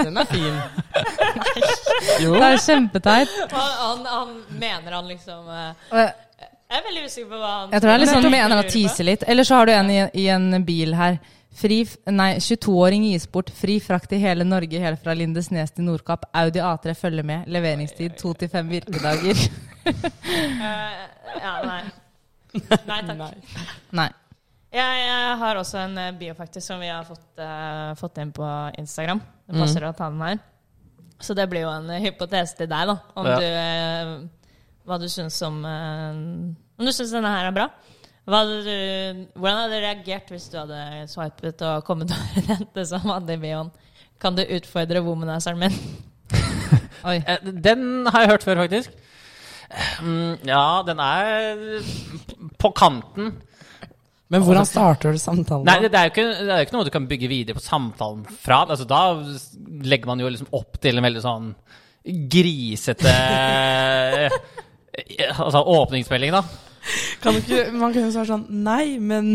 Speaker 2: Den er fin. jo.
Speaker 4: Det er kjempeteit.
Speaker 3: Han, han, han mener han liksom eh,
Speaker 4: Og Jeg
Speaker 3: Jeg er veldig usikker på hva han
Speaker 4: jeg tror jeg liksom
Speaker 3: Nettopp.
Speaker 4: mener å tise litt. Eller så har du en i, i en bil her. Fri, f- nei, 22-åring gis bort. Fri frakt i hele Norge, helt fra Lindesnes til Nordkapp. Audi A3 følger med. Leveringstid to til fem virkedager.
Speaker 3: Eh, ja, nei. Nei takk.
Speaker 4: Nei.
Speaker 3: Jeg, jeg har også en eh, bio faktisk som vi har fått, eh, fått inn på Instagram. Det passer å ta den her. Så det blir jo en eh, hypotese til deg, da. Om
Speaker 1: Ja.
Speaker 3: du eh, Hva du syns om eh, Om du syns denne her er bra. Hva hadde du, hvordan hadde du reagert hvis du hadde swipet og kommet over en jente som hadde bioen? Kan du utfordre womanizeren min?
Speaker 4: Oi.
Speaker 1: Eh, Den har jeg hørt før, faktisk. Mm, Ja, den er på kanten.
Speaker 2: Men hvordan starter du samtalen?
Speaker 1: Altså, Nei,
Speaker 2: da?
Speaker 1: det, det, er jo ikke, det er jo ikke noe du kan bygge videre på samtalen fra. Altså, da legger man jo liksom opp til en veldig sånn grisete eh, Altså åpningsmelding, da.
Speaker 2: Kan du ikke, man kunne svare sånn Nei, men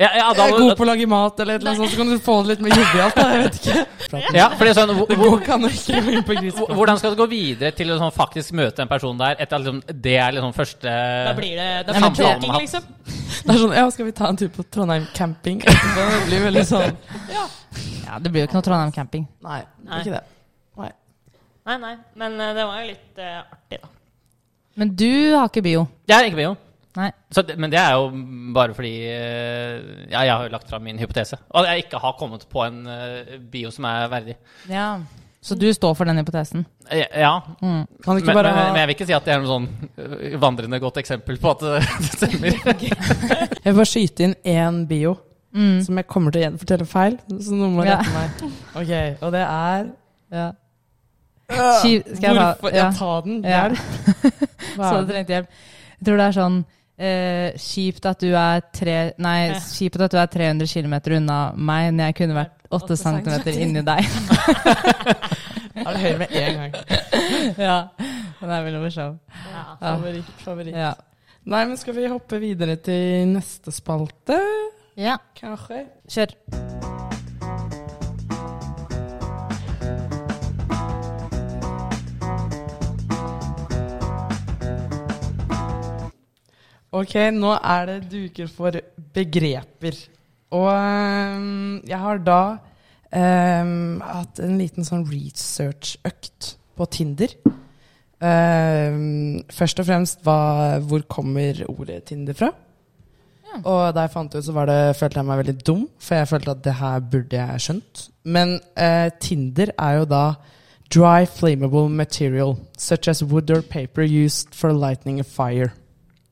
Speaker 1: Ja, ja, da,
Speaker 2: jeg er god på å lage mat, eller et eller annet sånt, så kan du få det litt mer jovialt. da, Jeg vet ikke.
Speaker 1: ja, fordi sånn, hvor,
Speaker 2: Det
Speaker 1: hvor,
Speaker 2: går kan jo ikke gå inn på
Speaker 1: hvor-
Speaker 2: grisefaget.
Speaker 1: hvordan skal du gå videre til å sånn, faktisk møte den personen der? Etter at liksom, det er liksom første
Speaker 3: Da blir det da
Speaker 1: Nei, men
Speaker 3: blir det
Speaker 1: planen
Speaker 3: talking,
Speaker 1: var-
Speaker 3: liksom.
Speaker 2: Det er sånn Ja, skal vi ta en tur på Trondheim camping? etterpå? Det blir veldig sånn
Speaker 4: Ja, det blir jo ikke noe Trondheim camping.
Speaker 2: Nei, det
Speaker 3: Nei.
Speaker 2: er ikke det.
Speaker 3: Nei, nei. Men eh, det var jo litt eh, artig, da.
Speaker 4: Men du har ikke bio.
Speaker 1: Jeg er ikke bio.
Speaker 4: Nei.
Speaker 1: Så, det- men det er jo bare fordi eh, ja, jeg har jo lagt fram min hypotese. Og jeg ikke har kommet på en eh, bio som er verdig.
Speaker 4: Ja. Så du står for den hypotesen?
Speaker 1: Eh, Ja,
Speaker 2: Kan du
Speaker 1: men,
Speaker 2: ikke bare
Speaker 1: men, men
Speaker 2: ha
Speaker 1: jeg vil ikke si at det er noe sånn eh, vandrende godt eksempel på at eh, det stemmer.
Speaker 2: Jeg vil bare skyte inn én bio
Speaker 4: Mm.
Speaker 2: som jeg kommer til å gjenfortelle feil, så noen må
Speaker 4: Ja.
Speaker 2: rette meg. Ok, Og det er
Speaker 4: Ja.
Speaker 2: Øh,
Speaker 4: Skiv- skal jeg ta-
Speaker 2: Hvorfor?
Speaker 4: ja.
Speaker 2: Ja, ta den.
Speaker 4: Ja.
Speaker 2: Hjelp. Hva
Speaker 4: Så
Speaker 2: er
Speaker 4: du
Speaker 2: det?
Speaker 4: trengte hjelp. Jeg tror det er sånn eh, kjipt at du er tre Nei,
Speaker 3: Ja.
Speaker 4: kjipt at du er 300 km unna meg når jeg kunne vært 8
Speaker 2: Åtte
Speaker 4: cm
Speaker 2: centimeter.
Speaker 4: inni deg.
Speaker 2: Er det høyre med en gang?
Speaker 4: ja. Den er veldig morsom.
Speaker 3: Ja.
Speaker 4: Ja.
Speaker 2: Favoritt, favoritt.
Speaker 4: Ja.
Speaker 2: Nei, men skal vi hoppe videre til neste spalte,
Speaker 4: ja.
Speaker 2: kanskje?
Speaker 4: Kjør.
Speaker 2: Ok, nå er det duker for begreper. Og øhm, jeg har da øhm, hatt en liten sånn research-økt på Tinder. Øhm, først og fremst hva, hvor kommer ordet Tinder fra? Og da jeg fant det ut, så var det, følte jeg meg veldig dum, for jeg følte at det her burde jeg skjønt. Men eh, Tinder er jo da dry flammable material, such as wood or paper used for lighting a fire.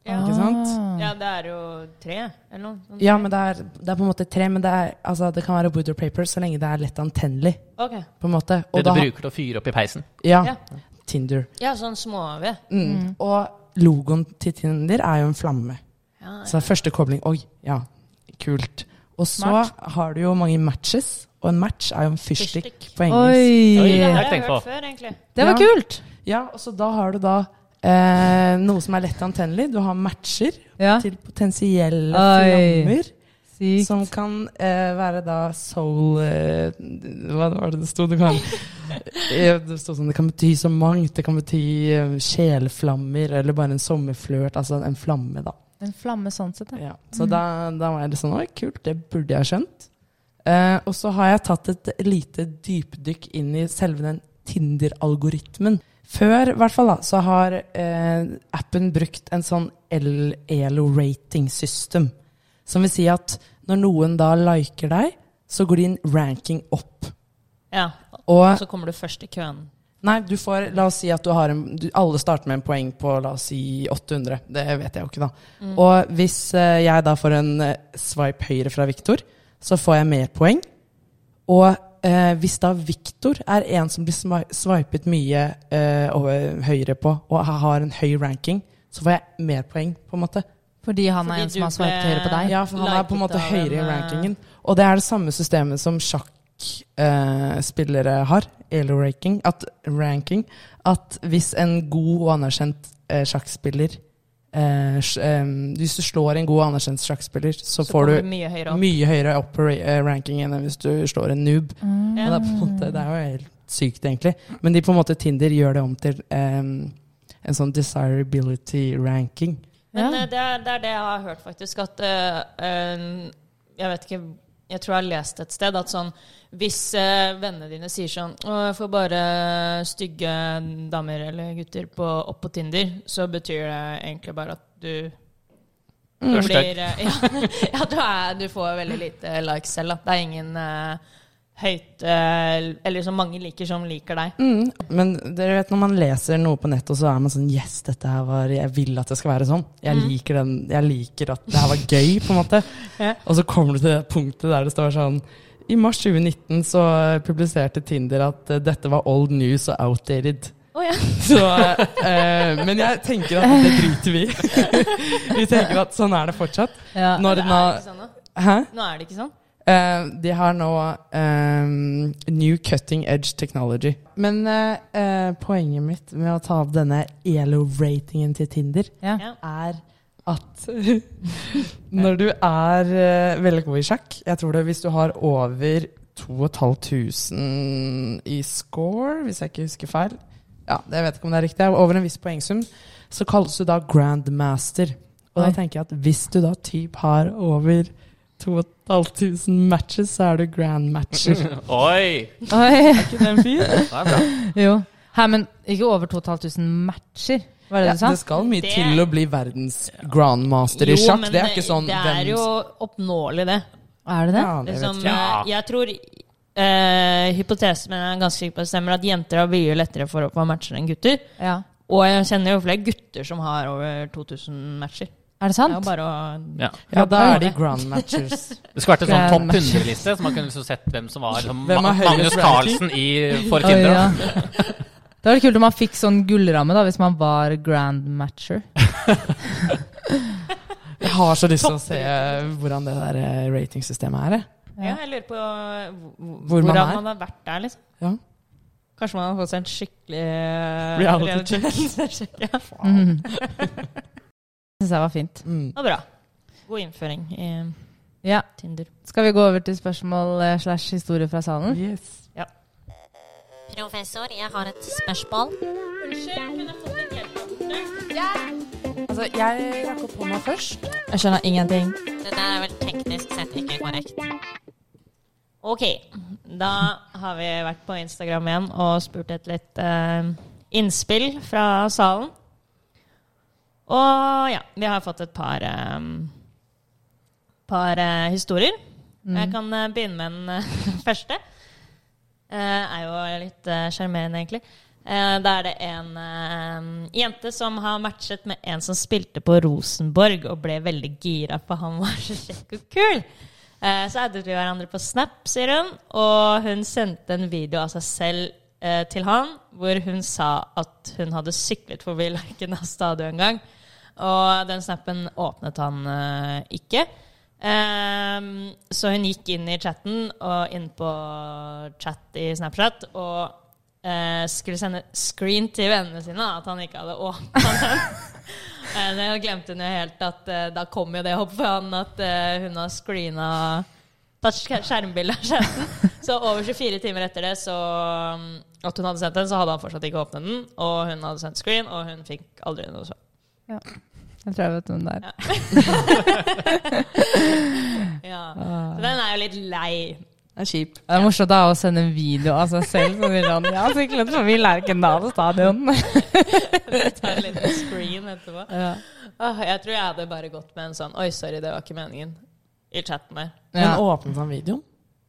Speaker 3: Ja.
Speaker 2: Ikke sant?
Speaker 3: ja, det er jo tre, eller noe. sånt.
Speaker 2: Ja, men det er, det er på en måte tre, men det, er, altså, det kan være wood or paper så lenge det er lett antennelig.
Speaker 3: Ok.
Speaker 2: På en måte.
Speaker 1: Det du
Speaker 2: da-
Speaker 1: bruker til å fyre opp i peisen.
Speaker 2: ja,
Speaker 3: Ja.
Speaker 2: Tinder.
Speaker 3: Ja, sånn småved.
Speaker 2: Mm. Og logoen til Tinder er jo en flamme.
Speaker 3: Ja,
Speaker 2: Så det er første kobling. Oi, ja, kult. Og så
Speaker 4: Smart.
Speaker 2: har du jo mange matches, og en match er jo en fyrstikk
Speaker 3: Fyrstikk.
Speaker 2: på engelsk.
Speaker 1: Oi,
Speaker 4: Oi!
Speaker 3: Det
Speaker 1: har
Speaker 3: har
Speaker 1: jeg
Speaker 3: jeg
Speaker 1: tenkt på.
Speaker 3: hørt før, egentlig.
Speaker 4: Det var
Speaker 2: Ja.
Speaker 4: kult!
Speaker 2: Ja, og så da har du da eh, noe som er lett antennelig. Du har matcher
Speaker 4: Ja.
Speaker 2: til potensielle
Speaker 4: Oi.
Speaker 2: flammer.
Speaker 4: Sykt.
Speaker 2: Som kan eh, være da soul eh, Hva var det det sto? Det, kan, Eh, det, sto sånn, det kan bety så mangt. Det kan bety eh, sjelflammer eller bare en sommerflørt. Altså en flamme, da.
Speaker 4: En flamme sånn sett, ja.
Speaker 2: Ja. Så da, da var jeg litt sånn Oi, kult, det burde jeg ha skjønt. Eh, og så har jeg tatt et lite dypdykk inn i selve den Tinder-algoritmen. Før, i hvert fall, da, så har eh, appen brukt en sånn L- ELO rating system. Som vil si at når noen da liker deg, så går din ranking opp.
Speaker 3: Ja.
Speaker 2: Og
Speaker 3: Og så kommer du først i køen.
Speaker 2: Nei, du får, la oss si at du har en du, Alle starter med en poeng på la oss si 800. Det vet jeg jo ikke, da. Og hvis eh, jeg da får en eh, swipe høyre fra Viktor, så får jeg mer poeng. Og eh, hvis da Viktor er en som blir swi- swipet mye eh, over, høyere på, og ha- har en høy ranking, så får jeg mer poeng, på en måte.
Speaker 4: Fordi han
Speaker 3: Fordi
Speaker 4: er en
Speaker 3: du
Speaker 4: som har
Speaker 3: ble-
Speaker 4: svart høyre på deg?
Speaker 2: Ja, for han er på en
Speaker 3: Liket
Speaker 2: måte
Speaker 3: av
Speaker 2: høyere i
Speaker 3: en, eh,
Speaker 2: rankingen. Og det er det samme systemet som sjakkspillere eh, har, elo-ranking, at, ranking, at hvis en god og anerkjent eh, sjakkspiller eh, sj- eh, Hvis du slår en god og anerkjent sjakkspiller, så,
Speaker 3: Så
Speaker 2: får
Speaker 3: kommer
Speaker 2: du
Speaker 3: mye høyere opp.
Speaker 2: mye høyere opp på ra- eh, rankingen enn hvis du slår en noob. Og
Speaker 4: Mm.
Speaker 2: det, er på en måte, det er jo helt sykt, egentlig. Men de på en måte Tinder gjør det om til eh, en sånn desirability ranking.
Speaker 3: Men
Speaker 4: Ja.
Speaker 3: eh, det, er, det er det jeg har hørt, faktisk. At eh, eh, Jeg vet ikke Jeg tror jeg har lest et sted at sånn Hvis eh, vennene dine sier sånn Å, jeg får bare stygge damer eller gutter på, opp på Tinder, så betyr det egentlig bare at du
Speaker 2: Mm.
Speaker 1: Du er stygg.
Speaker 3: blir eh, Ja, ja du, er, du får veldig lite likes selv. Da. Det er ingen eh, høyt eh, Eller så mange liker som liker deg.
Speaker 2: Mm. Men dere vet når man leser noe på nettet, så er man sånn Yes, dette her var Jeg vil at det skal være sånn. Jeg
Speaker 3: Mm.
Speaker 2: liker, den, jeg liker at det her var gøy, på en måte.
Speaker 3: Ja.
Speaker 2: Og så kommer du til det punktet der det står sånn I mars 2019 så publiserte Tinder at eh, dette var old news og outdated.
Speaker 3: Å ja.
Speaker 2: Så, eh, men jeg tenker at det driter vi i. vi tenker at sånn er det fortsatt.
Speaker 4: Ja.
Speaker 2: Når
Speaker 3: Det
Speaker 2: den
Speaker 3: er
Speaker 2: har
Speaker 3: ikke sånn, da.
Speaker 2: Hæ?
Speaker 3: Nå er det ikke sånn.
Speaker 2: Eh, de har nå ehm, New Cutting Edge Technology. Men eh, eh, poenget mitt med å ta opp denne ELO-ratingen til Tinder
Speaker 4: Ja.
Speaker 3: Ja.
Speaker 2: er at når du er eh, veldig god i sjakk Jeg tror det hvis du har over 2500 i score, hvis jeg ikke husker feil Ja, jeg vet ikke om det er riktig. Over en viss poengsum, så kalles du da grandmaster. Og da
Speaker 4: Oi.
Speaker 2: tenker jeg at hvis du da typ har over 2500 matches, så er du grandmatcher.
Speaker 1: Oi!
Speaker 4: Oi,
Speaker 2: Er ikke den fin?
Speaker 1: Det er bra.
Speaker 4: jo. Hæ, men ikke over 2500 matcher, var det
Speaker 2: Ja,
Speaker 4: du sa?
Speaker 2: det skal mye
Speaker 3: Det-
Speaker 2: til å bli verdens grandmaster i
Speaker 3: Jo,
Speaker 2: sjakk.
Speaker 3: men
Speaker 2: Det er ikke sånn
Speaker 3: Det
Speaker 2: hvem-
Speaker 3: er jo oppnåelig, det.
Speaker 4: Er det det?
Speaker 2: Ja, det vet
Speaker 3: Liksom,
Speaker 1: ikke. Ja.
Speaker 3: eh, Jeg tror eh, hypotesen min er ganske sikker på at det stemmer, at jenter har mye lettere for å få matcher enn gutter.
Speaker 4: Ja.
Speaker 3: Og jeg kjenner jo flere gutter som har over 2000 matcher.
Speaker 4: Er det
Speaker 3: Det er
Speaker 4: sant?
Speaker 3: jo bare å
Speaker 1: Ja.
Speaker 2: Ja, da er de grandmatchers.
Speaker 1: Det skulle vært en sånn
Speaker 4: Det er
Speaker 1: topp 100-liste, så man kunne liksom sett hvem som var liksom,
Speaker 2: Hvem er
Speaker 1: Ma-
Speaker 2: høyest
Speaker 1: Magnus
Speaker 2: ranking?
Speaker 1: Carlsen i for
Speaker 4: Oi,
Speaker 1: Tinder.
Speaker 4: ja.
Speaker 1: da.
Speaker 4: Det hadde vært kult om man fikk sånn gullramme da, hvis man var grand matcher.
Speaker 2: Jeg har så lyst til å se hvordan det der eh, ratingsystemet er. jeg.
Speaker 3: Ja, jeg lurer på hvor,
Speaker 2: Hvor man
Speaker 3: hvordan
Speaker 2: er.
Speaker 3: man, har vært der, liksom.
Speaker 2: Ja.
Speaker 3: Kanskje man har fått seg en skikkelig eh,
Speaker 2: Reality check. Mhm.
Speaker 3: check. Ja.
Speaker 4: Mm. Det syns jeg var fint.
Speaker 2: Mm.
Speaker 3: Det var bra. God innføring i
Speaker 4: Ja.
Speaker 3: Tinder.
Speaker 4: Skal vi gå over til spørsmål eh, slash historie fra salen?
Speaker 2: Yes.
Speaker 5: Professor, jeg har et spørsmål.
Speaker 2: Altså, jeg rakk opp hånda først.
Speaker 3: Jeg skjønner ingenting.
Speaker 5: Det der er vel teknisk sett ikke korrekt.
Speaker 3: Ok, da har vi vært på Instagram igjen og spurt et litt eh, innspill fra salen. Og ja, vi har fått et par, eh, par eh, historier.
Speaker 2: Mm.
Speaker 3: Jeg kan eh, begynne med den eh, første. Eh, er jo litt eh, sjarmerende, egentlig. Eh, da er det en eh, jente som har matchet med en som spilte på Rosenborg, og ble veldig gira, for han var så kjekk og kul. Eh, så addet vi hverandre på Snap, sier hun, og hun sendte en video av seg selv eh, til han, hvor hun sa at hun hadde syklet forbi Lerkendal stadion en gang. Og den snappen åpnet han eh, ikke. Ehm, så hun gikk inn i chatten og inn på chat i Snapchat og eh, skulle sende screen til vennene sine da, at han ikke hadde åpna den. Eh, det glemte hun jo helt at eh, da kom jo det opp for han at eh, hun har screena Tatt sk- skjermbilde av chatten. Så over 24 timer etter det så mm, at hun hadde sendt den, så hadde han fortsatt ikke åpnet den. Og hun hadde sendt screen, og hun fikk aldri noe svar.
Speaker 4: Jeg tror jeg vet hvem det er.
Speaker 3: Ja. Så den er jo litt lei.
Speaker 2: Det er kjip.
Speaker 4: Det er morsomt da, å sende en video av seg selv som vil han Ja, syklet forbi Lerkendal stadion.
Speaker 3: Ta en liten screen etterpå.
Speaker 4: Ja.
Speaker 3: Åh, jeg tror jeg hadde bare gått med en sånn Oi, sorry, det var ikke meningen. I chatten der.
Speaker 4: Ja.
Speaker 2: Men åpnet han videoen?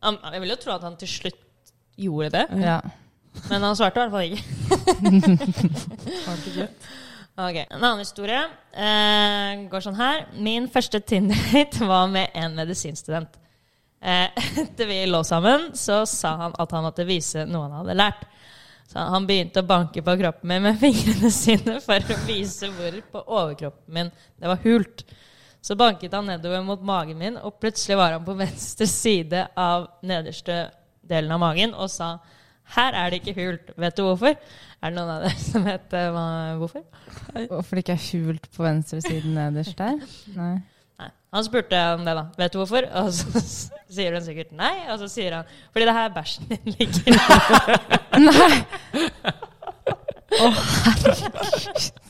Speaker 3: Han, jeg vil jo tro at han til slutt gjorde det,
Speaker 4: ja.
Speaker 3: men han svarte i hvert fall ikke. Ok, En annen historie eh, går sånn her. Min første Tinder-date var med en medisinstudent. Eh, etter vi lå sammen, så sa han at han måtte vise noe han hadde lært. Så han begynte å banke på kroppen min med fingrene sine for å vise hvor på overkroppen min det var hult. Så banket han nedover mot magen min, og plutselig var han på venstre side av nederste delen av magen og sa her er det ikke hult. Vet du hvorfor? Er det noen av dere som vet eh, hva, hvorfor?
Speaker 4: Hvorfor det ikke er hult på venstre siden nederst der? Nei.
Speaker 3: Nei. Han spurte om det, da. Vet du hvorfor? Og så s- sier hun sikkert nei. Og så sier han fordi det er her bæsjen din ligger.
Speaker 4: Nei.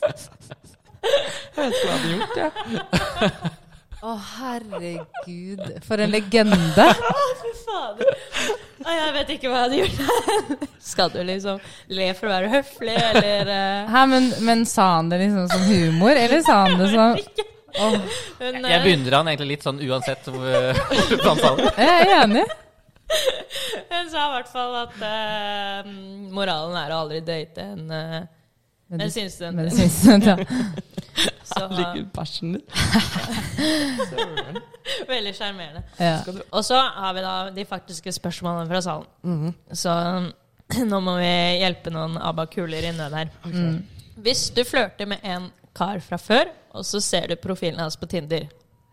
Speaker 2: Jeg vet ikke hva han hadde gjort, jeg.
Speaker 4: Å, herregud. For en legende.
Speaker 3: Fy fader. Og jeg vet ikke hva jeg hadde gjort. Skal du liksom le for å være høflig, eller eh,
Speaker 4: Hæ, men, men sa han det liksom som humor, eller sa han det som
Speaker 3: hun,
Speaker 1: Jeg
Speaker 3: eh,
Speaker 1: beundrer han egentlig litt sånn uansett eh, hvor hvor han sa det.
Speaker 4: Jeg er enig.
Speaker 3: eh, hun sa i hvert fall at eh, moralen er å aldri date en uh, medisinstudent.
Speaker 4: Medisinstudent, ja.
Speaker 3: Så eh,
Speaker 2: Herregud, bæsjen din.
Speaker 3: veldig sjarmerende.
Speaker 4: ja.
Speaker 3: Og så har vi da de faktiske spørsmålene fra salen.
Speaker 4: Mhm.
Speaker 3: Så um, nå må vi hjelpe noen ABBA-kuler i nød her. Mm. Hvis du flørter med en kar fra før, og så ser du profilen hans på Tinder,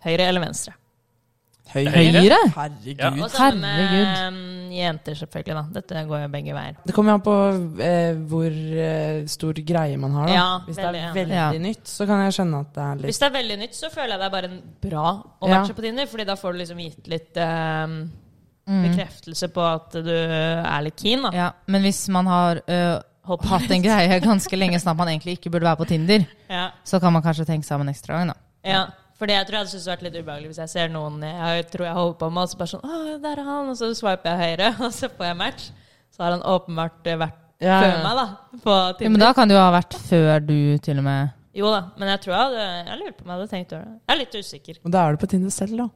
Speaker 3: høyre eller venstre?
Speaker 2: Høyre.
Speaker 4: Høyre?
Speaker 2: Herregud.
Speaker 1: Ja.
Speaker 3: Og samme
Speaker 4: Herregud.
Speaker 3: med um, jenter, selvfølgelig. da. Dette går jo begge veier.
Speaker 2: Det kommer jo an på eh, hvor eh, stor greie man har. Da.
Speaker 3: Ja,
Speaker 2: Hvis det er
Speaker 3: veldig, ja.
Speaker 2: veldig
Speaker 4: Ja.
Speaker 2: nytt, så kan jeg skjønne at det er litt
Speaker 3: Hvis det er veldig nytt, så føler jeg det er bare en bra å
Speaker 2: Ja.
Speaker 3: matche på Tinder, fordi da får du liksom gitt litt eh,
Speaker 4: Mm.
Speaker 3: bekreftelse på at du er litt keen, da.
Speaker 4: Ja, men hvis man har øh, hatt en greie ganske lenge sånn at man egentlig ikke burde være på Tinder,
Speaker 3: Ja.
Speaker 4: så kan man kanskje tenke seg om en ekstra gang, da.
Speaker 3: Ja, fordi jeg tror jeg hadde syntes det vært litt ubehagelig hvis jeg ser noen jeg tror jeg holder på med, og så bare sånn Å, der er han. Og så swiper jeg høyre, og så får jeg match. Så har han åpenbart vært
Speaker 2: Ja,
Speaker 3: før
Speaker 2: ja.
Speaker 3: meg, da. På
Speaker 4: Ja, men
Speaker 3: Tinder.
Speaker 4: da kan det jo ha vært før du til og med
Speaker 3: Jo da, men jeg tror jeg hadde Jeg lurer på om jeg hadde tenkt over det. Jeg er litt usikker.
Speaker 2: Og da er du på Tinder selv, da.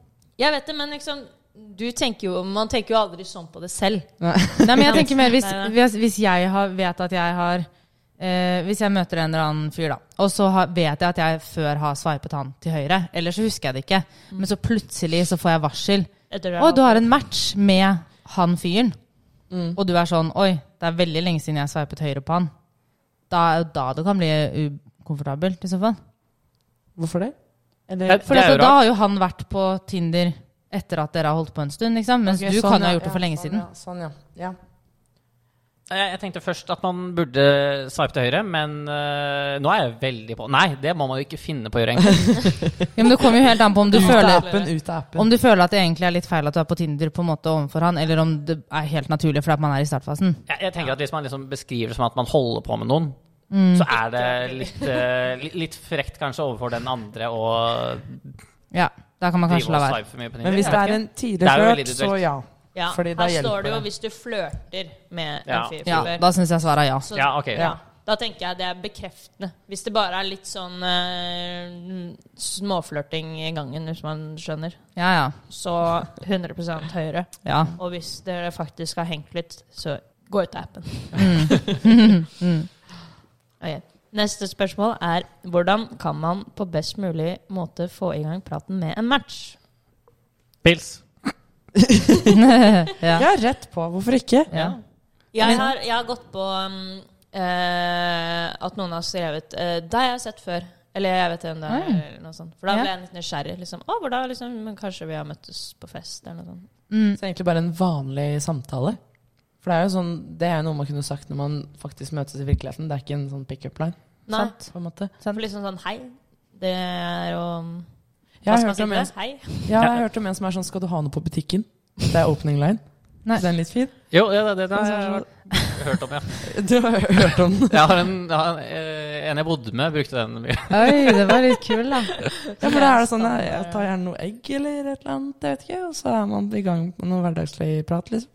Speaker 3: Jeg vet det, men liksom du tenker jo, Man tenker jo aldri sånn på det selv.
Speaker 4: Nei, men jeg tenker mer hvis,
Speaker 3: Nei, nei.
Speaker 4: hvis, hvis jeg har, vet at jeg har eh, Hvis jeg møter en eller annen fyr, da, og så har, vet jeg at jeg før har sveipet han til høyre, eller så husker jeg det ikke, men så plutselig så får jeg varsel.
Speaker 3: Etter
Speaker 4: Å, du har en match med han fyren. Og du er sånn Oi, det er veldig lenge siden jeg sveipet høyre på han. Da er jo da det kan bli ukomfortabelt, i så fall.
Speaker 2: Hvorfor det?
Speaker 1: Det,
Speaker 4: For
Speaker 1: det er jo
Speaker 4: altså, da
Speaker 1: rart.
Speaker 4: har jo han vært på Tinder etter at dere har holdt på en stund, liksom. Mens
Speaker 2: Ok,
Speaker 4: du
Speaker 2: sånn,
Speaker 4: kan jo
Speaker 2: ja.
Speaker 4: ha gjort det for
Speaker 2: Ja,
Speaker 4: lenge
Speaker 2: sånn,
Speaker 4: siden.
Speaker 2: Ja, sånn, ja. ja.
Speaker 1: Jeg, jeg tenkte først at man burde sveipe til høyre, men eh, nå er jeg veldig på Nei, det må man jo ikke finne på å gjøre, egentlig.
Speaker 4: Ja, men det kommer jo helt an på om du
Speaker 2: Ut av
Speaker 4: føler
Speaker 2: appen, ut av appen.
Speaker 4: om du føler at det egentlig er litt feil at du er på Tinder på en måte overfor han, eller om det er helt naturlig fordi at man er i startfasen.
Speaker 1: Jeg, jeg tenker at Hvis man liksom beskriver det som at man holder på med noen, så er det litt, eh, li- litt frekt kanskje overfor den andre å
Speaker 4: Ja, da kan man
Speaker 1: drive
Speaker 4: kanskje
Speaker 1: og
Speaker 4: la være.
Speaker 1: sveipe for mye på
Speaker 2: Men
Speaker 1: Tinder.
Speaker 2: hvis
Speaker 1: Jeg
Speaker 2: det
Speaker 1: vet
Speaker 2: er
Speaker 1: ikke.
Speaker 2: en
Speaker 1: Det
Speaker 2: tidlig
Speaker 1: er jo veldig
Speaker 2: flørt, så
Speaker 1: individuelt.
Speaker 2: ja.
Speaker 3: ja,
Speaker 2: Fordi da
Speaker 3: Her
Speaker 2: hjelper
Speaker 3: står det jo
Speaker 2: det.
Speaker 3: hvis du flørter med
Speaker 1: Ja.
Speaker 3: en fyr fra
Speaker 4: Ja,
Speaker 3: før.
Speaker 4: da syns jeg svaret er ja.
Speaker 3: Så-
Speaker 1: Ja, ok.
Speaker 2: Ja.
Speaker 3: Da tenker jeg det er bekreftende. Hvis det bare er litt sånn eh, småflørting i gangen, hvis man skjønner,
Speaker 4: Ja, ja.
Speaker 3: så 100 høyere.
Speaker 4: ja.
Speaker 3: Og hvis dere faktisk har hengt litt, så gå ut av appen. Ok. Neste spørsmål er hvordan kan man på best mulig måte få i gang praten med en match?
Speaker 1: Pils.
Speaker 4: ja.
Speaker 2: Ja, rett på. Hvorfor ikke?
Speaker 4: ja.
Speaker 3: Jeg har, jeg har gått på um, eh, at noen har skrevet uh, 'Deg har jeg sett før'. Eller 'jeg vet hvem det er', eller noe sånt. For da
Speaker 4: Ja.
Speaker 3: ble jeg litt nysgjerrig. Liksom. Å, hvor da? Liksom, men kanskje vi har møttes på fest, eller noe sånt.
Speaker 4: Mm,
Speaker 2: Så det er egentlig bare en vanlig samtale. For det er jo sånn, det er jo noe man kunne sagt når man faktisk møtes i virkeligheten. Det er ikke en sånn pick-up line.
Speaker 3: Nei.
Speaker 2: på en måte.
Speaker 3: For liksom sånn 'Hei', det er jo um,
Speaker 2: Jeg
Speaker 3: Hva
Speaker 2: har,
Speaker 3: skal man
Speaker 2: hørt
Speaker 3: si
Speaker 2: om
Speaker 3: til
Speaker 2: en,
Speaker 3: det? Hei.
Speaker 2: ja, jeg har hørt om en som er sånn Skal du ha noe på butikken? Det er opening line.
Speaker 4: Nei.
Speaker 2: Så Den er litt fin.
Speaker 1: Jo, ja, det, det, det har jeg hørt- hørt om, ja.
Speaker 2: Du har hørt om den.
Speaker 1: Jeg har en, jeg har en, eh, en jeg bodde med, brukte den mye.
Speaker 4: Oi, det var litt kul, da.
Speaker 2: Ja, for da er det sånn jeg, jeg tar gjerne noe egg eller et eller annet, jeg vet ikke. Og så er man i gang med noe hverdagslig prat, liksom.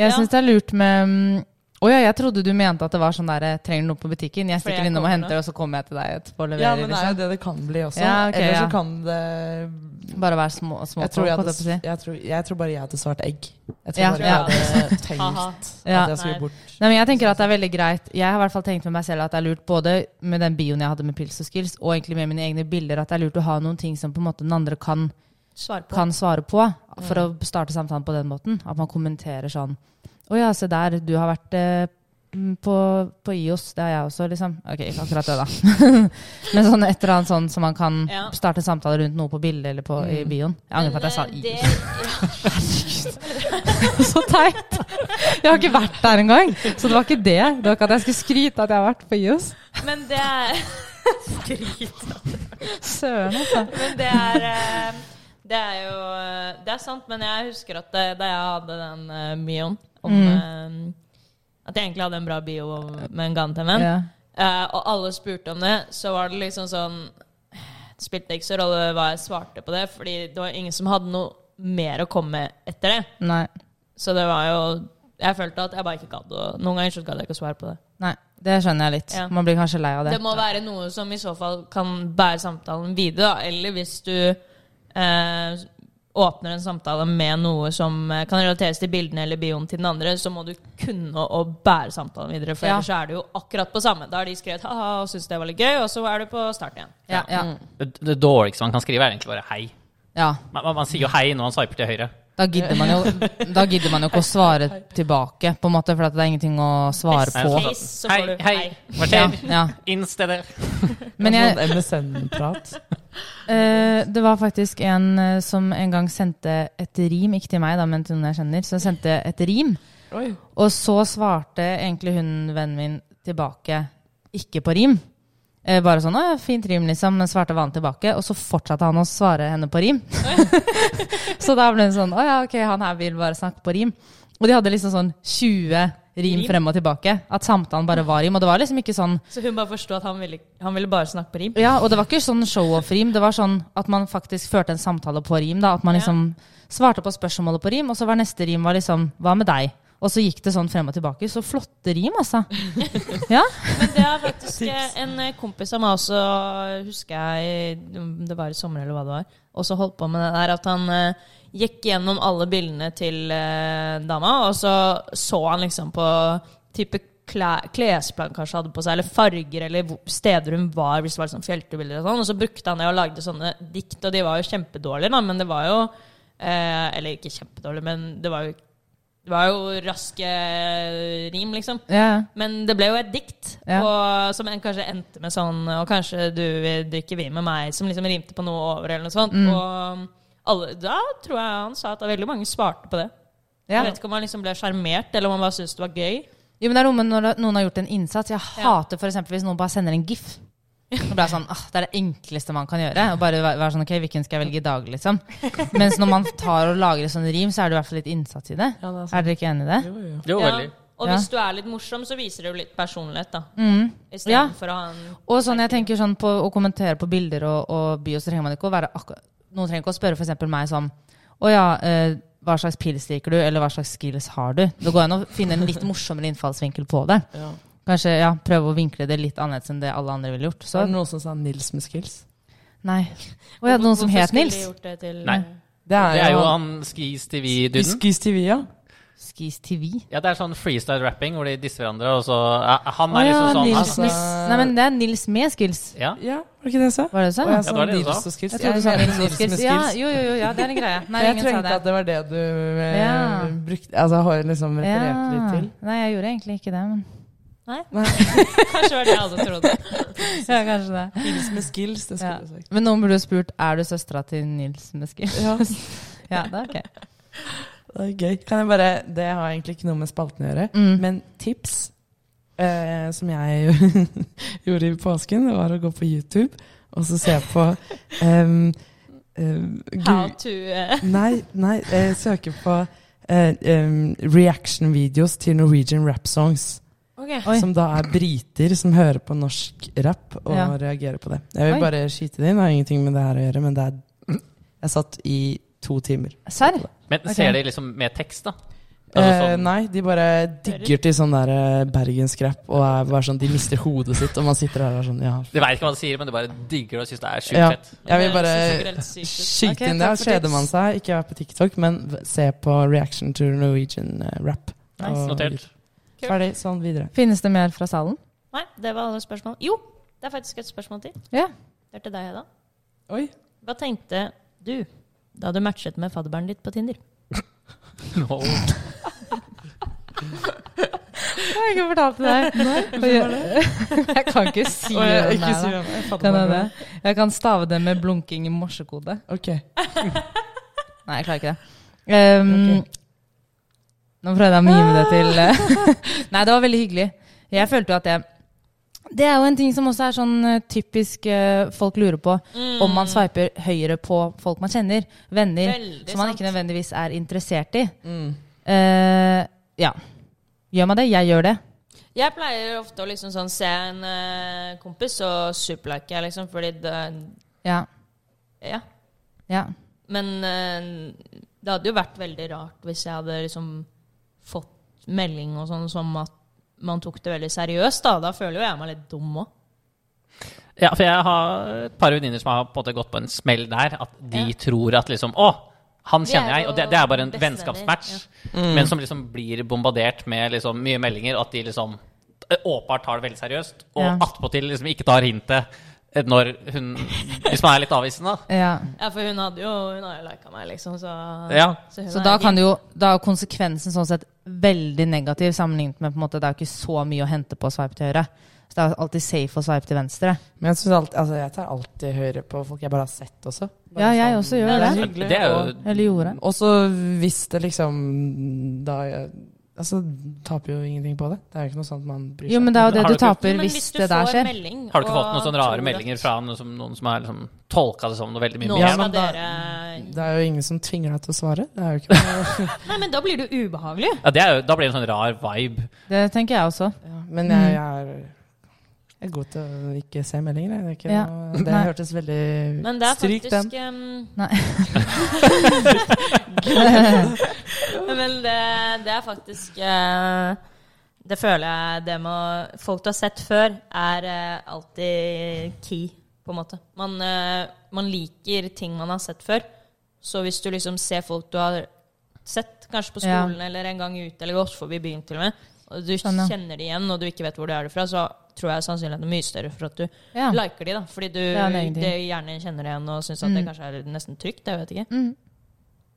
Speaker 4: Jeg
Speaker 3: Ja.
Speaker 4: syns det er lurt med mm, Å ja, jeg trodde du mente at det var sånn der eh, Trenger du noe på butikken? Jeg
Speaker 3: Fordi
Speaker 4: stikker
Speaker 3: jeg
Speaker 4: innom og
Speaker 3: kommer
Speaker 4: henter,
Speaker 3: nå.
Speaker 4: og så kommer jeg til deg etterpå og
Speaker 2: Ja,
Speaker 4: leverer.
Speaker 2: men det er jo
Speaker 4: liksom.
Speaker 2: det det kan bli også.
Speaker 4: Ja, ok,
Speaker 2: Eller
Speaker 4: ja.
Speaker 2: så kan det
Speaker 4: Bare være små, små
Speaker 2: jeg tror, jeg,
Speaker 4: folk, holdt
Speaker 2: hadde,
Speaker 4: jeg på å si.
Speaker 2: jeg, tror, jeg tror bare jeg hadde svart egg. Jeg tror
Speaker 4: Ja,
Speaker 2: bare
Speaker 4: ja.
Speaker 2: jeg hadde tenkt
Speaker 3: Ha-ha.
Speaker 4: Ja.
Speaker 2: at jeg skulle
Speaker 3: Nei.
Speaker 2: bort.
Speaker 4: Nei, men jeg tenker at det er veldig greit. Jeg har i hvert fall tenkt med meg selv at det er lurt både med den bioen jeg hadde med Pils og Skills, og egentlig med mine egne bilder, at det er lurt å ha noen ting som på en måte den andre kan,
Speaker 3: Svar på.
Speaker 4: kan svare på, for å
Speaker 3: Mm.
Speaker 4: starte samtalen på den måten. At man kommenterer sånn Å ja, se der, du har vært eh, mm, på, på IOS, det har jeg også, liksom. Ok, ikke akkurat det, da. men sånn et eller annet sånn som man kan
Speaker 3: Ja. Mm.
Speaker 4: starte samtaler rundt noe på bildet eller på, i bioen. Jeg angrer på at jeg sa
Speaker 3: Men, eh,
Speaker 4: IOS.
Speaker 3: det-
Speaker 4: Så teit! Jeg har ikke vært der engang, så det var ikke det. Det var ikke at jeg skulle skryte at jeg har vært på IOS.
Speaker 3: Men det er Skryt.
Speaker 4: Søren, altså.
Speaker 3: Men det er eh, Det er jo eh, Det er sant, men jeg husker at eh, da jeg hadde den eh, bioen om eh, At jeg egentlig hadde en bra bio om- med en gammel venn,
Speaker 4: Ja.
Speaker 3: eh, og alle spurte om det, så var det liksom sånn Det spilte ikke så rolle hva jeg svarte på det, fordi det var ingen som hadde noe mer å komme med etter det.
Speaker 4: Nei.
Speaker 3: Så det var jo Jeg følte at jeg bare ikke gadd å Noen ganger så gadd jeg ikke å svare på det.
Speaker 4: Nei, det skjønner jeg litt.
Speaker 3: Ja.
Speaker 4: Man blir kanskje lei av det.
Speaker 3: Det må være noe som i så fall kan bære samtalen videre, da. Eller hvis du eh, åpner en samtale med noe som eh, kan relateres til bildene eller bioen til den andre, så må du kunne å bære samtalen videre. For
Speaker 4: Ja.
Speaker 3: ellers er du jo akkurat på samme. Da har de skrevet ha-ha og syntes det var litt gøy, og så er du på start igjen.
Speaker 4: Ja, ja.
Speaker 3: Mm.
Speaker 1: Det, det dårligste man kan skrive, er egentlig bare hei.
Speaker 4: ja.
Speaker 1: Man, man, man sier jo hei når man sveiper til høyre.
Speaker 4: Da gidder, man jo, da gidder man jo ikke å svare tilbake, på en måte, for at det er ingenting å svare
Speaker 1: Nei,
Speaker 4: på.
Speaker 1: sånn-
Speaker 3: Så
Speaker 1: Hei,
Speaker 3: får du
Speaker 1: hei,
Speaker 3: hei.
Speaker 1: hva
Speaker 4: Ja,
Speaker 1: skjer?
Speaker 4: ja.
Speaker 1: Inn steder.
Speaker 4: Men jeg,
Speaker 2: Sånn MSN-prat.
Speaker 4: Eh, det var faktisk en eh, som en gang sendte et rim, ikke til meg, da, men til noen jeg kjenner. Så sendte et rim,
Speaker 2: Oi.
Speaker 4: og så svarte egentlig hun vennen min tilbake ikke på rim. Eh, bare sånn 'Å, fint rim', liksom, men svarte vanen tilbake. Og så fortsatte han å svare henne på rim. så da ble hun sånn 'Å ja, ok, han her vil bare snakke på rim'. Og de hadde liksom sånn 20 rim, frem og tilbake. At samtalen bare var rim. Og det var liksom ikke sånn
Speaker 3: Så hun bare forsto at han ville, han ville bare snakke på rim?
Speaker 4: ja, og det var ikke sånn show-off-rim. Det var sånn at man faktisk førte en samtale på rim. da, At man liksom svarte på spørsmålet på rim, og så var neste rim var liksom Hva med deg? Og så gikk det sånn frem og tilbake. Så flotte rim, altså. Ja.
Speaker 3: Men det er faktisk eh, en eh, kompis av meg også, husker jeg, om det var i sommer eller hva det var, også holdt på med det der at han eh, gikk gjennom alle bildene til eh, dama, og så så han liksom på type klæ- klesplagg kanskje hadde på seg, eller farger, eller hvor- steder hun var, hvis det var sånn fjellturbilder og sånn, og så brukte han det og lagde sånne dikt, og de var jo kjempedårlige da, men det var jo, eh, eller ikke kjempedårlige, men det var jo, det var jo raske rim liksom.
Speaker 4: ja.
Speaker 3: Men det ble jo et dikt,
Speaker 4: Ja.
Speaker 3: og, som en kanskje endte med sånn Og kanskje du vil drikke vin med meg, som liksom rimte på noe over, eller noe sånt.
Speaker 4: Mm.
Speaker 3: Og alle, da tror jeg han sa at veldig mange svarte på det.
Speaker 4: ja.
Speaker 3: Jeg vet ikke om han liksom ble sjarmert, eller om han bare syntes det var gøy.
Speaker 4: Jo, men det er noe med når noen har gjort en innsats. Jeg hater for eksempel hvis noen bare sender en gif. Og bare sånn, ah, Det er det enkleste man kan gjøre. Og bare væ- være sånn, ok, Hvilken skal jeg velge i dag? liksom. Mens når man tar og lager et sånt rim, så er det i hvert fall litt innsats i det.
Speaker 2: Ja, det er sant.
Speaker 4: Er dere ikke enig i det?
Speaker 1: Jo,
Speaker 3: Ja.
Speaker 1: veldig.
Speaker 3: Og
Speaker 4: Ja.
Speaker 3: hvis du er litt morsom, så viser det jo litt personlighet, da.
Speaker 4: Mm. Ja.
Speaker 3: Istedenfor å ha en
Speaker 4: Og sånn, jeg tenker sånn på å kommentere på bilder og, og bio, så trenger man ikke å være akkurat Noen trenger ikke å spørre f.eks. meg sånn Å ja, eh, hva slags pils liker du, eller hva slags skills har du? Det går an å finne en litt morsommere innfallsvinkel på det.
Speaker 2: Ja.
Speaker 4: Kanskje ja, prøve å vinkle det litt annerledes enn det alle andre ville gjort. Så
Speaker 2: Var det noen som sa Nils med skills?
Speaker 4: nei. Å ja, noen som
Speaker 3: Hvorfor
Speaker 4: het
Speaker 3: skulle
Speaker 4: Nils?
Speaker 3: de gjort det til-
Speaker 1: Nei.
Speaker 2: Det er,
Speaker 1: Det er jo
Speaker 2: han
Speaker 1: han Skis TV-duden.
Speaker 2: Skis TV, ja.
Speaker 4: Skis TV?
Speaker 1: Ja, det er sånn freestyle rapping hvor de disser hverandre, og så ja, Han
Speaker 4: Å
Speaker 1: er
Speaker 4: ja,
Speaker 1: liksom sånn
Speaker 4: Nils
Speaker 2: altså-
Speaker 4: med Nei, men det er Nils med skills.
Speaker 1: Ja.
Speaker 2: Ja, var det ikke det jeg sa?
Speaker 4: Var det sånn? du sa?
Speaker 2: Og jeg
Speaker 1: Ja,
Speaker 2: sa
Speaker 1: det var det du
Speaker 2: Nils
Speaker 1: sa.
Speaker 2: og skills.
Speaker 4: Jeg tror du sa Nils med skills. Ja, jo, jo, jo, ja, det er en greie. Nei,
Speaker 2: jeg
Speaker 4: ingen sa
Speaker 2: tenkte
Speaker 4: det.
Speaker 2: at det var det du eh,
Speaker 4: Ja.
Speaker 2: brukte Altså har liksom referert litt
Speaker 4: Ja.
Speaker 2: til.
Speaker 4: Nei, jeg gjorde egentlig ikke det, men
Speaker 3: Kanskje var det jeg hadde trodd.
Speaker 4: Ja, kanskje det.
Speaker 2: Nils med skills, det skulle
Speaker 4: Ja.
Speaker 2: jeg sagt.
Speaker 4: Men noen burde jo spurt er du søstera til Nils Meskil.
Speaker 2: Ja,
Speaker 4: Ja, det er
Speaker 2: det
Speaker 4: ok.
Speaker 2: er gøy. Kan jeg bare Det har egentlig ikke noe med spalten å gjøre,
Speaker 4: Mm.
Speaker 2: men tips eh, som jeg gjorde i påsken, var å gå på YouTube og så se på em, em, gu-
Speaker 3: How to eh,
Speaker 2: Nei, nei, jeg søker på eh, em, reaction-videoes til Norwegian rap songs.
Speaker 4: Oi.
Speaker 2: Som da er briter som hører på norsk rap og
Speaker 4: Ja.
Speaker 2: reagerer på det. Jeg vil
Speaker 4: Oi.
Speaker 2: bare skyte det inn, det har ingenting med det her å gjøre, men det er Jeg satt i to timer.
Speaker 4: Serr?
Speaker 1: Men
Speaker 4: Ok.
Speaker 1: ser de liksom med tekst, da? Altså
Speaker 2: Eh,
Speaker 1: sånn-
Speaker 2: nei, de bare digger til sånn der eh, bergensk rap og er bare sånn, de mister hodet sitt, og man sitter her og er sånn Ja.
Speaker 1: De veit ikke hva de sier, men de bare digger det og syns det er sjukt
Speaker 2: Ja.
Speaker 1: fett.
Speaker 2: Jeg vil bare
Speaker 3: Det er helt sykt.
Speaker 2: skyte
Speaker 4: Ok,
Speaker 2: inn det.
Speaker 4: takk for
Speaker 2: Kjeder
Speaker 4: tips.
Speaker 2: man seg, ikke vær på TikTok, men v- se på reaction to Norwegian eh, rap.
Speaker 4: Nice.
Speaker 2: Og-
Speaker 1: Notert.
Speaker 2: Ferdig. Sånn videre.
Speaker 4: Finnes det mer fra salen?
Speaker 3: Nei, det var alle spørsmål. Jo, det er faktisk et spørsmål til.
Speaker 4: Ja.
Speaker 3: Det er til deg, Hedda.
Speaker 2: Oi.
Speaker 3: Hva tenkte du da du matchet med fadderbarnet ditt på Tinder?
Speaker 1: No.
Speaker 4: Jeg har ikke fortalt det deg. Jeg, jeg kan ikke si
Speaker 2: Å, jeg,
Speaker 4: hvem det
Speaker 2: ikke si
Speaker 4: er, da.
Speaker 2: hvem. Jeg fatter
Speaker 4: Kan jeg
Speaker 2: meg
Speaker 4: det? Jeg kan stave det med blunking i morsekode.
Speaker 2: nå. Ok.
Speaker 4: Nei, jeg klarer ikke det. Ehm, Nå prøvde jeg å mime det til eh, Nei, det var veldig hyggelig. Jeg følte jo at jeg Det er jo en ting som også er sånn eh, typisk eh, folk lurer på.
Speaker 3: Mm,
Speaker 4: Om man sveiper høyre på folk man kjenner. Venner.
Speaker 3: Veldig
Speaker 4: som man
Speaker 3: sant.
Speaker 4: ikke nødvendigvis er interessert i.
Speaker 2: Mm.
Speaker 4: Eh, ja. Gjør man det? Jeg gjør det.
Speaker 3: Jeg pleier ofte å liksom sånn se en eh, kompis, og superliker jeg, liksom, fordi det
Speaker 4: Ja.
Speaker 3: Ja.
Speaker 4: ja.
Speaker 3: Men eh, det hadde jo vært veldig rart hvis jeg hadde liksom fått melding og sånn som at man tok det veldig seriøst, da. Da føler jo jeg meg litt dum òg.
Speaker 1: Ja, for jeg har et par venninner som har på en måte gått på en smell der. At de tror at liksom Å, han
Speaker 3: Vi er
Speaker 1: kjenner jeg!
Speaker 3: jo
Speaker 1: Og det, det er bare en
Speaker 3: bestevenner,
Speaker 1: vennskapsmatch. Men som liksom blir bombardert med liksom mye meldinger, og at de liksom eh, åpenbart tar det veldig seriøst. Og
Speaker 4: Ja.
Speaker 1: attpåtil liksom ikke tar hintet eh, når hun Hvis man er litt avvisende, da.
Speaker 4: ja.
Speaker 3: Ja, for hun hadde jo Hun har jo lika meg, liksom, så,
Speaker 1: Ja.
Speaker 3: så hun
Speaker 4: Så
Speaker 3: er
Speaker 4: da
Speaker 3: helt-
Speaker 4: kan det jo Da er konsekvensen sånn sett veldig negativ sammenlignet med på en måte Det er jo ikke så mye å hente på å sveipe til høyre. Så det er alltid safe å sveipe til venstre.
Speaker 2: Men jeg, synes alt, altså, jeg tar alltid høyre på folk jeg bare har sett også. Bare
Speaker 4: Ja, jeg også gjør
Speaker 2: det er
Speaker 4: det.
Speaker 2: hyggelig,
Speaker 1: Det er
Speaker 2: og-
Speaker 1: jo
Speaker 4: Eller gjorde.
Speaker 2: Og så hvis det liksom Da Altså, taper jo ingenting på det. Det er jo ikke noe sånt man bryr seg
Speaker 4: Jo, men det er jo det
Speaker 1: Har
Speaker 4: du
Speaker 1: du ikke-
Speaker 4: taper hvis det der skjer.
Speaker 1: Har du ikke fått noen sånne rare meldinger fra noen som, noen som har liksom tolka det som noe veldig mye?
Speaker 3: Nå
Speaker 1: mer?
Speaker 2: Ja,
Speaker 3: skal
Speaker 2: men da-
Speaker 3: dere
Speaker 2: Det er jo ingen som tvinger deg til å svare. Det er jo ikke noe.
Speaker 3: Nei, men da blir det jo ubehagelig.
Speaker 1: Ja, det er jo, da blir det en sånn rar vibe.
Speaker 4: Det tenker jeg også.
Speaker 2: Ja, men
Speaker 4: Mm.
Speaker 2: jeg, jeg er jeg er god til å ikke se meldinger. jeg. Det, er ikke
Speaker 4: Ja.
Speaker 2: noe, det
Speaker 4: Nei.
Speaker 2: hørtes veldig
Speaker 3: Men det
Speaker 2: Mm.
Speaker 3: er
Speaker 2: Stryk
Speaker 3: faktisk
Speaker 2: den.
Speaker 3: em,
Speaker 4: ja,
Speaker 3: Men det, det er faktisk eh, Det føler jeg det med å- Folk du har sett før, er eh, alltid key, på en måte. Man, eh, man liker ting man har sett før. Så hvis du liksom ser folk du har sett, kanskje på
Speaker 4: Ja.
Speaker 3: skolen eller en gang ute, eller gått forbi byen til og med, og du
Speaker 4: Skjønner.
Speaker 3: kjenner de igjen, og du ikke vet hvor de er fra, så tror jeg sannsynligheten er mye større for at du liker de, da. Fordi du
Speaker 4: er en egen ting.
Speaker 3: det gjerne kjenner det igjen og syns at det kanskje er nesten trygt. Jeg vet ikke.
Speaker 4: Mm.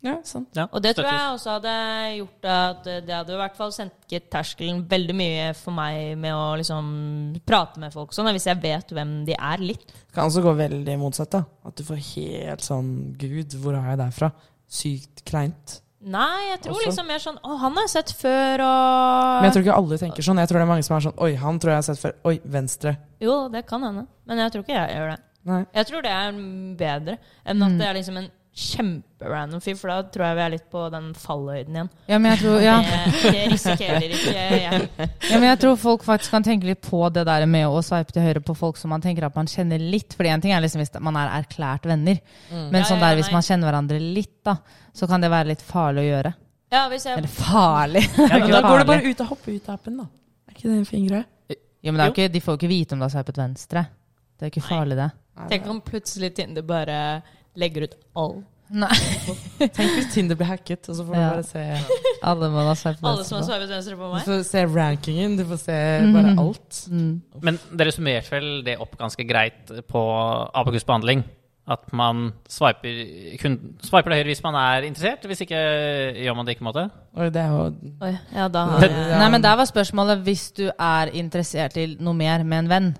Speaker 2: Ja, sant.
Speaker 1: Ja,
Speaker 3: Og det tror
Speaker 1: støttes.
Speaker 3: jeg også hadde gjort at det hadde i hvert fall senket terskelen veldig mye for meg med å liksom prate med folk sånn, da, hvis jeg vet hvem de er, litt.
Speaker 2: Kan også gå veldig motsatt. da At du får helt sånn Gud, hvor har jeg deg fra? Sykt kleint.
Speaker 3: Nei, jeg tror
Speaker 2: Også?
Speaker 3: liksom mer sånn Å, han har jeg sett før, og
Speaker 2: Men jeg tror ikke alle tenker sånn. Jeg tror det er mange som er sånn Oi, han tror jeg har sett før. Oi, venstre.
Speaker 3: Jo, det kan hende. Men jeg tror ikke jeg gjør det.
Speaker 2: Nei.
Speaker 3: Jeg tror det er bedre enn at det er liksom en kjemperandom fyr, for da tror jeg vi er litt på den fallhøyden igjen.
Speaker 4: men jeg tror, ja.
Speaker 3: Det, det risikerer ikke jeg.
Speaker 4: ja, men jeg tror folk faktisk kan tenke litt på det der med å sveipe til høyre på folk som man tenker at man kjenner litt. Fordi en ting er liksom hvis man er erklært venner, men
Speaker 3: Ja,
Speaker 4: sånn
Speaker 3: ja,
Speaker 4: der hvis
Speaker 3: nei.
Speaker 4: man kjenner hverandre litt, da, så kan det være litt farlig å gjøre.
Speaker 3: Ja, hvis jeg
Speaker 4: Eller farlig!
Speaker 1: Ja, men
Speaker 2: Da
Speaker 1: da-
Speaker 2: går du bare ut og hopper ut av appen, da. Er ikke det en fin greie?
Speaker 4: Jo, men det er jo ikke, de får jo ikke vite om du har sveipet venstre. Det er jo ikke farlig, det.
Speaker 3: Tenk om plutselig Tinder bare legger ut all
Speaker 4: Nei.
Speaker 2: Tenk hvis Tinder blir hacket, og så får du
Speaker 4: Ja.
Speaker 2: bare se
Speaker 4: Alle må ha sveipet
Speaker 3: Alle som har
Speaker 4: venstre.
Speaker 3: svaret venstre på
Speaker 2: Du
Speaker 3: meg?
Speaker 2: får se rankingen, du får se bare alt.
Speaker 4: Mm.
Speaker 1: Men dere summerte vel det opp ganske greit på Abakus behandling? At man swiper, kun swiper det høyre hvis man er interessert, hvis ikke gjør man det ikke, på en måte?
Speaker 2: Oi, det er jo
Speaker 3: Oi, ja, da
Speaker 1: Det-
Speaker 3: har jeg
Speaker 4: Nei, men der var spørsmålet hvis du er interessert i noe mer med en venn,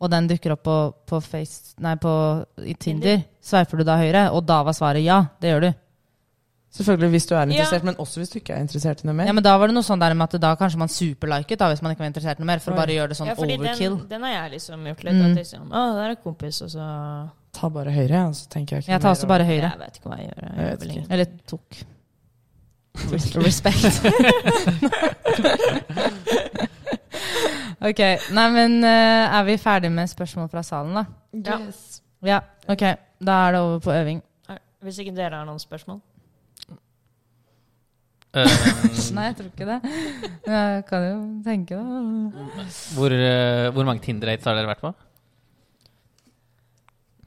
Speaker 4: og den dukker opp på, på, face, nei, på i Tinder, sveiper du da høyre? Og da var svaret ja, det gjør du.
Speaker 2: Selvfølgelig hvis du er interessert,
Speaker 3: Ja.
Speaker 2: men også hvis du ikke er interessert i noe
Speaker 4: Ja,
Speaker 2: mer.
Speaker 4: men da var det noe sånn der med at da kanskje man superliket da, hvis man ikke var interessert noe mer, for å bare gjøre det sånn
Speaker 3: ja, fordi
Speaker 4: overkill.
Speaker 3: Den, den har jeg liksom gjort litt. At liksom, å, der er kompis, og så
Speaker 2: Ta bare høyre, ja, så tenker jeg ikke
Speaker 4: Jeg tar også bare høyre.
Speaker 3: Jeg vet ikke hva jeg gjør. Jeg
Speaker 2: Jeg
Speaker 3: gjør
Speaker 2: vet
Speaker 3: vel
Speaker 2: ikke.
Speaker 3: ingenting.
Speaker 4: Eller tok. Respect. ok. Nei, men eh, er vi ferdig med spørsmål fra salen, da?
Speaker 3: Ja.
Speaker 4: Ja. Ok. Da er det over på øving.
Speaker 3: Er- Hvis ikke dere har noen spørsmål.
Speaker 1: Eh,
Speaker 4: Nei, jeg tror ikke det. Men Jeg kan jo tenke det.
Speaker 1: hvor, eh, hvor mange Tinder-dates har dere vært på?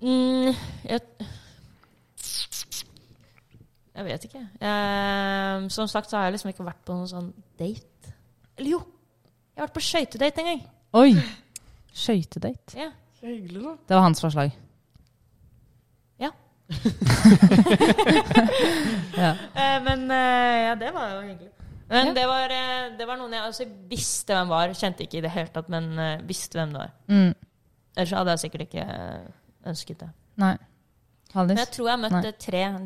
Speaker 3: Mm, jeg, jeg vet ikke. Eh, som sagt så har jeg liksom ikke vært på noen sånn date. Eller jo! Jeg har vært på skøytedate en gang.
Speaker 4: Oi! Skøytedate.
Speaker 3: Ja.
Speaker 2: Så hyggelig, da.
Speaker 4: Det var hans forslag.
Speaker 3: Ja.
Speaker 4: ja.
Speaker 3: Eh, men eh, ja, det var jo hyggelig. Men
Speaker 4: Ja.
Speaker 3: det, var, eh, det var noen jeg altså, visste hvem var. Kjente ikke i det hele tatt, men eh, visste hvem det var.
Speaker 4: Mm.
Speaker 3: Ellers så hadde jeg sikkert ikke eh, ønsket det.
Speaker 4: Nei.
Speaker 3: Men jeg
Speaker 4: Hallis?
Speaker 3: tror jeg møtte tre, tre,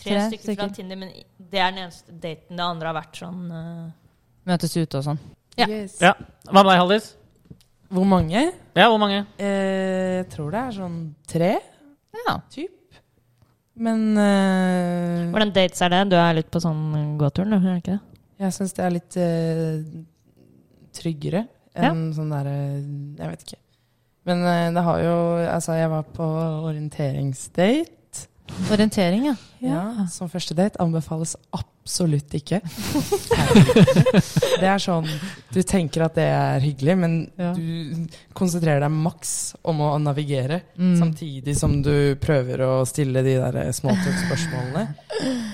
Speaker 4: Tre
Speaker 3: stykker, fra
Speaker 4: stykker.
Speaker 3: Tinder, men det er den eneste daten. Det andre har vært sånn eh,
Speaker 4: Møtes ute og sånn.
Speaker 3: Ja.
Speaker 2: Yes.
Speaker 1: Ja. Hva med deg, Haldis?
Speaker 2: Hvor mange?
Speaker 1: Ja, hvor mange?
Speaker 2: Eh, jeg tror det er sånn tre,
Speaker 4: Ja.
Speaker 2: typ. Men eh,
Speaker 3: Hvordan dates er det? Du er litt på sånn gåturen, du? Er det ikke det?
Speaker 2: Jeg syns det er litt eh, tryggere
Speaker 3: Ja.
Speaker 2: enn sånn derre Jeg vet ikke. Men eh, det har jo Altså, jeg var på orienteringsdate.
Speaker 4: Orientering, ja.
Speaker 2: Ja, Som første date anbefales absolutt ikke. Det er sånn Du tenker at det er hyggelig, men
Speaker 4: Ja.
Speaker 2: du konsentrerer deg maks om å navigere,
Speaker 4: Mm.
Speaker 2: samtidig som du prøver å stille de der eh, småtalk-spørsmålene.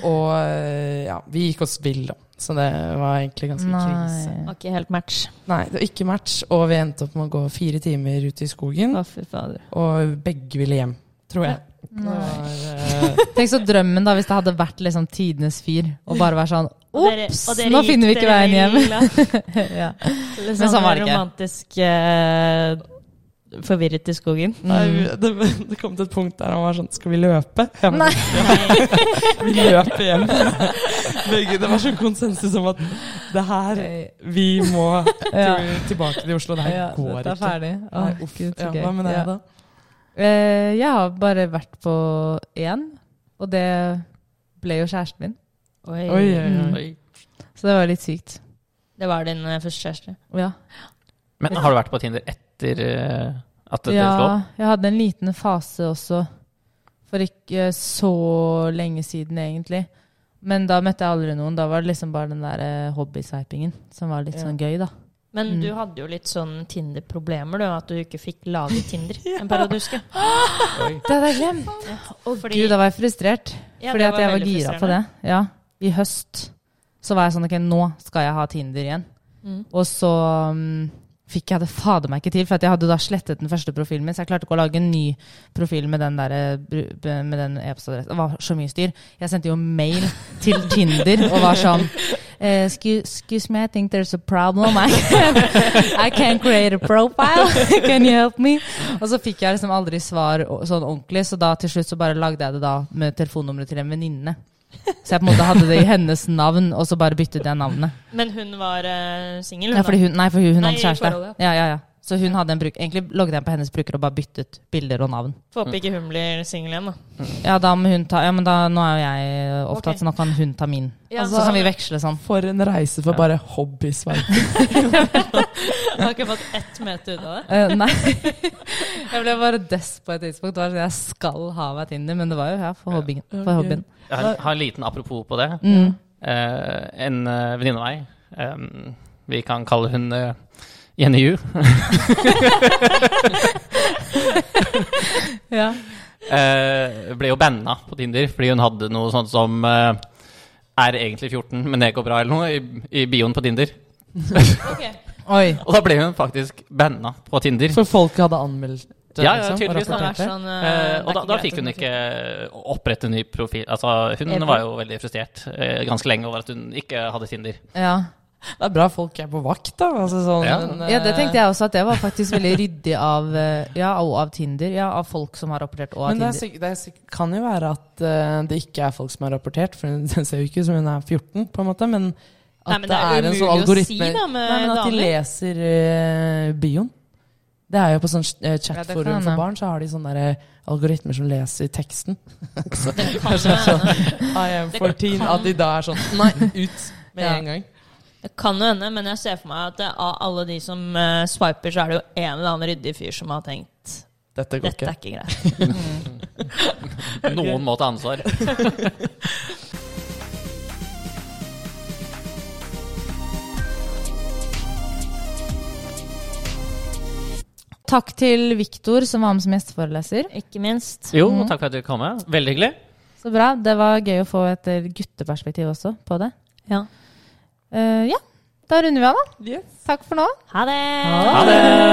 Speaker 2: Og eh, ja, vi gikk oss vill, da. Så det var egentlig ganske krise.
Speaker 3: Var ikke helt match.
Speaker 2: Nei, det var ikke match, og vi endte opp med å gå fire timer ut i skogen,
Speaker 3: Å, fy fader.
Speaker 2: og begge ville hjem, tror jeg. Det
Speaker 4: Nei.
Speaker 2: var, eh,
Speaker 4: Tenk så drømmen da hvis det hadde vært liksom tidenes fyr, og bare være sånn Ops, nå finner vi ikke veien hjem. ja.
Speaker 3: Men
Speaker 4: Men sånn var det ikke.
Speaker 3: Romantisk eh, forvirret i skogen.
Speaker 2: Nei, det, det kom til et punkt der han var sånn Skal vi løpe? Jeg bare, vi løper hjem. Begge, det var sånn konsensus om at det her Vi må
Speaker 4: Ja.
Speaker 2: til, tilbake til Oslo. Det her
Speaker 4: Ja,
Speaker 2: går ikke.
Speaker 4: dette er ferdig. Å,
Speaker 2: Nei, uff,
Speaker 4: Gud, så
Speaker 2: ja,
Speaker 4: gøy.
Speaker 2: hva med deg,
Speaker 4: Ja.
Speaker 2: da?
Speaker 4: Eh, jeg har bare vært på én, og det ble jo kjæresten min.
Speaker 3: Oi.
Speaker 2: Oi, mm. oi, oi.
Speaker 1: Oi.
Speaker 4: Så det var litt sykt.
Speaker 3: Det var din eh, første kjæreste.
Speaker 4: Ja.
Speaker 1: Men har du vært på Tinder etter eh, at dere slo
Speaker 4: ja,
Speaker 1: opp?
Speaker 4: jeg hadde en liten fase også, for ikke så lenge siden egentlig. Men da møtte jeg aldri noen. Da var det liksom bare den der eh, hobby-sveipingen som var litt
Speaker 2: Ja.
Speaker 4: sånn gøy, da.
Speaker 3: Men
Speaker 4: Mm.
Speaker 3: du hadde jo litt sånn Tinder-problemer, du. At du ikke fikk lage Tinder en periode, husker jeg.
Speaker 4: Det hadde jeg glemt!
Speaker 3: Fordi-
Speaker 4: Gud, da var jeg frustrert.
Speaker 3: Ja,
Speaker 4: fordi
Speaker 3: det
Speaker 4: at jeg var
Speaker 3: veldig
Speaker 4: gira på det.
Speaker 3: frustrerende.
Speaker 4: Ja. I høst så var jeg sånn Ok, nå skal jeg ha Tinder igjen.
Speaker 3: Mm.
Speaker 4: Og så mm, fikk jeg det fader meg ikke til, for at jeg hadde da slettet den første profilen min. Så jeg klarte ikke å lage en ny profil med den der, eh, bru- med den e-postadressen. Det var så mye styr. Jeg sendte jo mail til Tinder og var sånn eh, excuse, excuse me, I think there's a problem. I can't, I can't create a profile. Can you help me? Og så fikk jeg liksom aldri svar o- sånn ordentlig, så da til slutt så bare lagde jeg det da med telefonnummeret til en venninne. Så jeg på en måte hadde det i hennes navn, og så bare byttet jeg navnet.
Speaker 3: Men hun var uh, singel, hun.
Speaker 4: Ja, fordi hun, nei, for hun, hun
Speaker 3: Nei,
Speaker 4: hadde
Speaker 3: i
Speaker 4: kjæreste.
Speaker 3: forholdet,
Speaker 4: Ja, ja, ja. Så hun hadde en bruk, egentlig logget jeg på hennes bruker og bare byttet bilder og navn.
Speaker 3: da. Får håpe ikke hun blir singel igjen, da.
Speaker 4: Ja, da må hun ta, ja, men da, nå er jo jeg opptatt,
Speaker 3: Ok.
Speaker 4: så nå kan hun ta min.
Speaker 3: Altså,
Speaker 4: så kan vi veksle sånn.
Speaker 2: For en reise for bare hobbysveip.
Speaker 3: Hun har ikke fått ett møte ut av det.
Speaker 4: Eh, nei. jeg ble bare dess på et tidspunkt. Det var sånn, jeg skal ha meg Tinder, men det var jo ja, for hobbyen. For hobbyen.
Speaker 1: Jeg har, har en liten apropos på det.
Speaker 4: Mm.
Speaker 1: Eh, en eh, venninne av meg, eh, vi kan kalle hun eh, Jenny Yu,
Speaker 4: Ja.
Speaker 1: eh, ble jo banna på Tinder fordi hun hadde noe sånt som eh, er egentlig 14, men det går bra, eller noe, i, i bioen på Tinder.
Speaker 4: Oi.
Speaker 1: Og da ble hun faktisk banna på Tinder.
Speaker 2: For folk hadde anmeldt det,
Speaker 1: Ja, ja,
Speaker 4: liksom,
Speaker 2: og
Speaker 1: tydeligvis, da.
Speaker 3: Det
Speaker 2: rapportert
Speaker 3: er
Speaker 2: det.
Speaker 3: sånn, eh,
Speaker 1: Eh,
Speaker 3: det er
Speaker 1: og da,
Speaker 3: ikke
Speaker 1: da
Speaker 3: greit
Speaker 1: fikk hun
Speaker 3: at
Speaker 1: ikke eh, opprette en ny profil. Altså, hun
Speaker 3: Ever.
Speaker 1: var jo veldig frustrert eh, ganske lenge over at hun ikke hadde Tinder.
Speaker 4: Ja.
Speaker 2: Det er bra folk er på vakt, da. Altså, sånn,
Speaker 1: Ja.
Speaker 2: men,
Speaker 4: ja, det tenkte jeg også, at det var faktisk veldig ryddig av, eh, ja, og av Tinder. Ja, av folk som har rapportert og av
Speaker 2: Men det, er,
Speaker 4: Tinder.
Speaker 2: sikk- det er, sikk- kan jo være at eh, det ikke er folk som har rapportert, for det ser jo ikke ut som hun er 14, på en måte, men at
Speaker 3: Nei, men det er
Speaker 2: en
Speaker 3: umulig
Speaker 2: sånn
Speaker 3: å
Speaker 2: algoritme
Speaker 3: si, da, med
Speaker 2: Nei, men at de
Speaker 3: damer.
Speaker 2: leser eh, bioen. Det er jo på sånn eh,
Speaker 4: Ja, det
Speaker 2: chatforum
Speaker 4: kan hende.
Speaker 2: for barn, så har de sånne der, eh, algoritmer som leser teksten.
Speaker 3: Det kan
Speaker 4: Altså.
Speaker 3: jo hende.
Speaker 2: I am
Speaker 3: Det
Speaker 2: 14.
Speaker 3: kan-
Speaker 2: At de da er sånn Nei, ut med
Speaker 4: Ja.
Speaker 2: en gang.
Speaker 3: Det kan jo hende, men jeg ser for meg at det, av alle de som eh, swiper, så er det jo en eller annen ryddig fyr som har tenkt
Speaker 2: Dette går
Speaker 3: dette
Speaker 2: ikke.
Speaker 3: er ikke greit.
Speaker 1: Noen må ta ansvar.
Speaker 4: Takk til Viktor, som var med som gjesteforeleser.
Speaker 3: Ikke minst.
Speaker 1: Jo, takk for at du kom. med. Veldig hyggelig.
Speaker 4: Så bra. Det var gøy å få et eh, gutteperspektiv også på det.
Speaker 3: Ja.
Speaker 4: Eh, ja, da runder vi av, da.
Speaker 2: Yes.
Speaker 4: Takk for nå.
Speaker 3: Ha det!
Speaker 1: Ha det!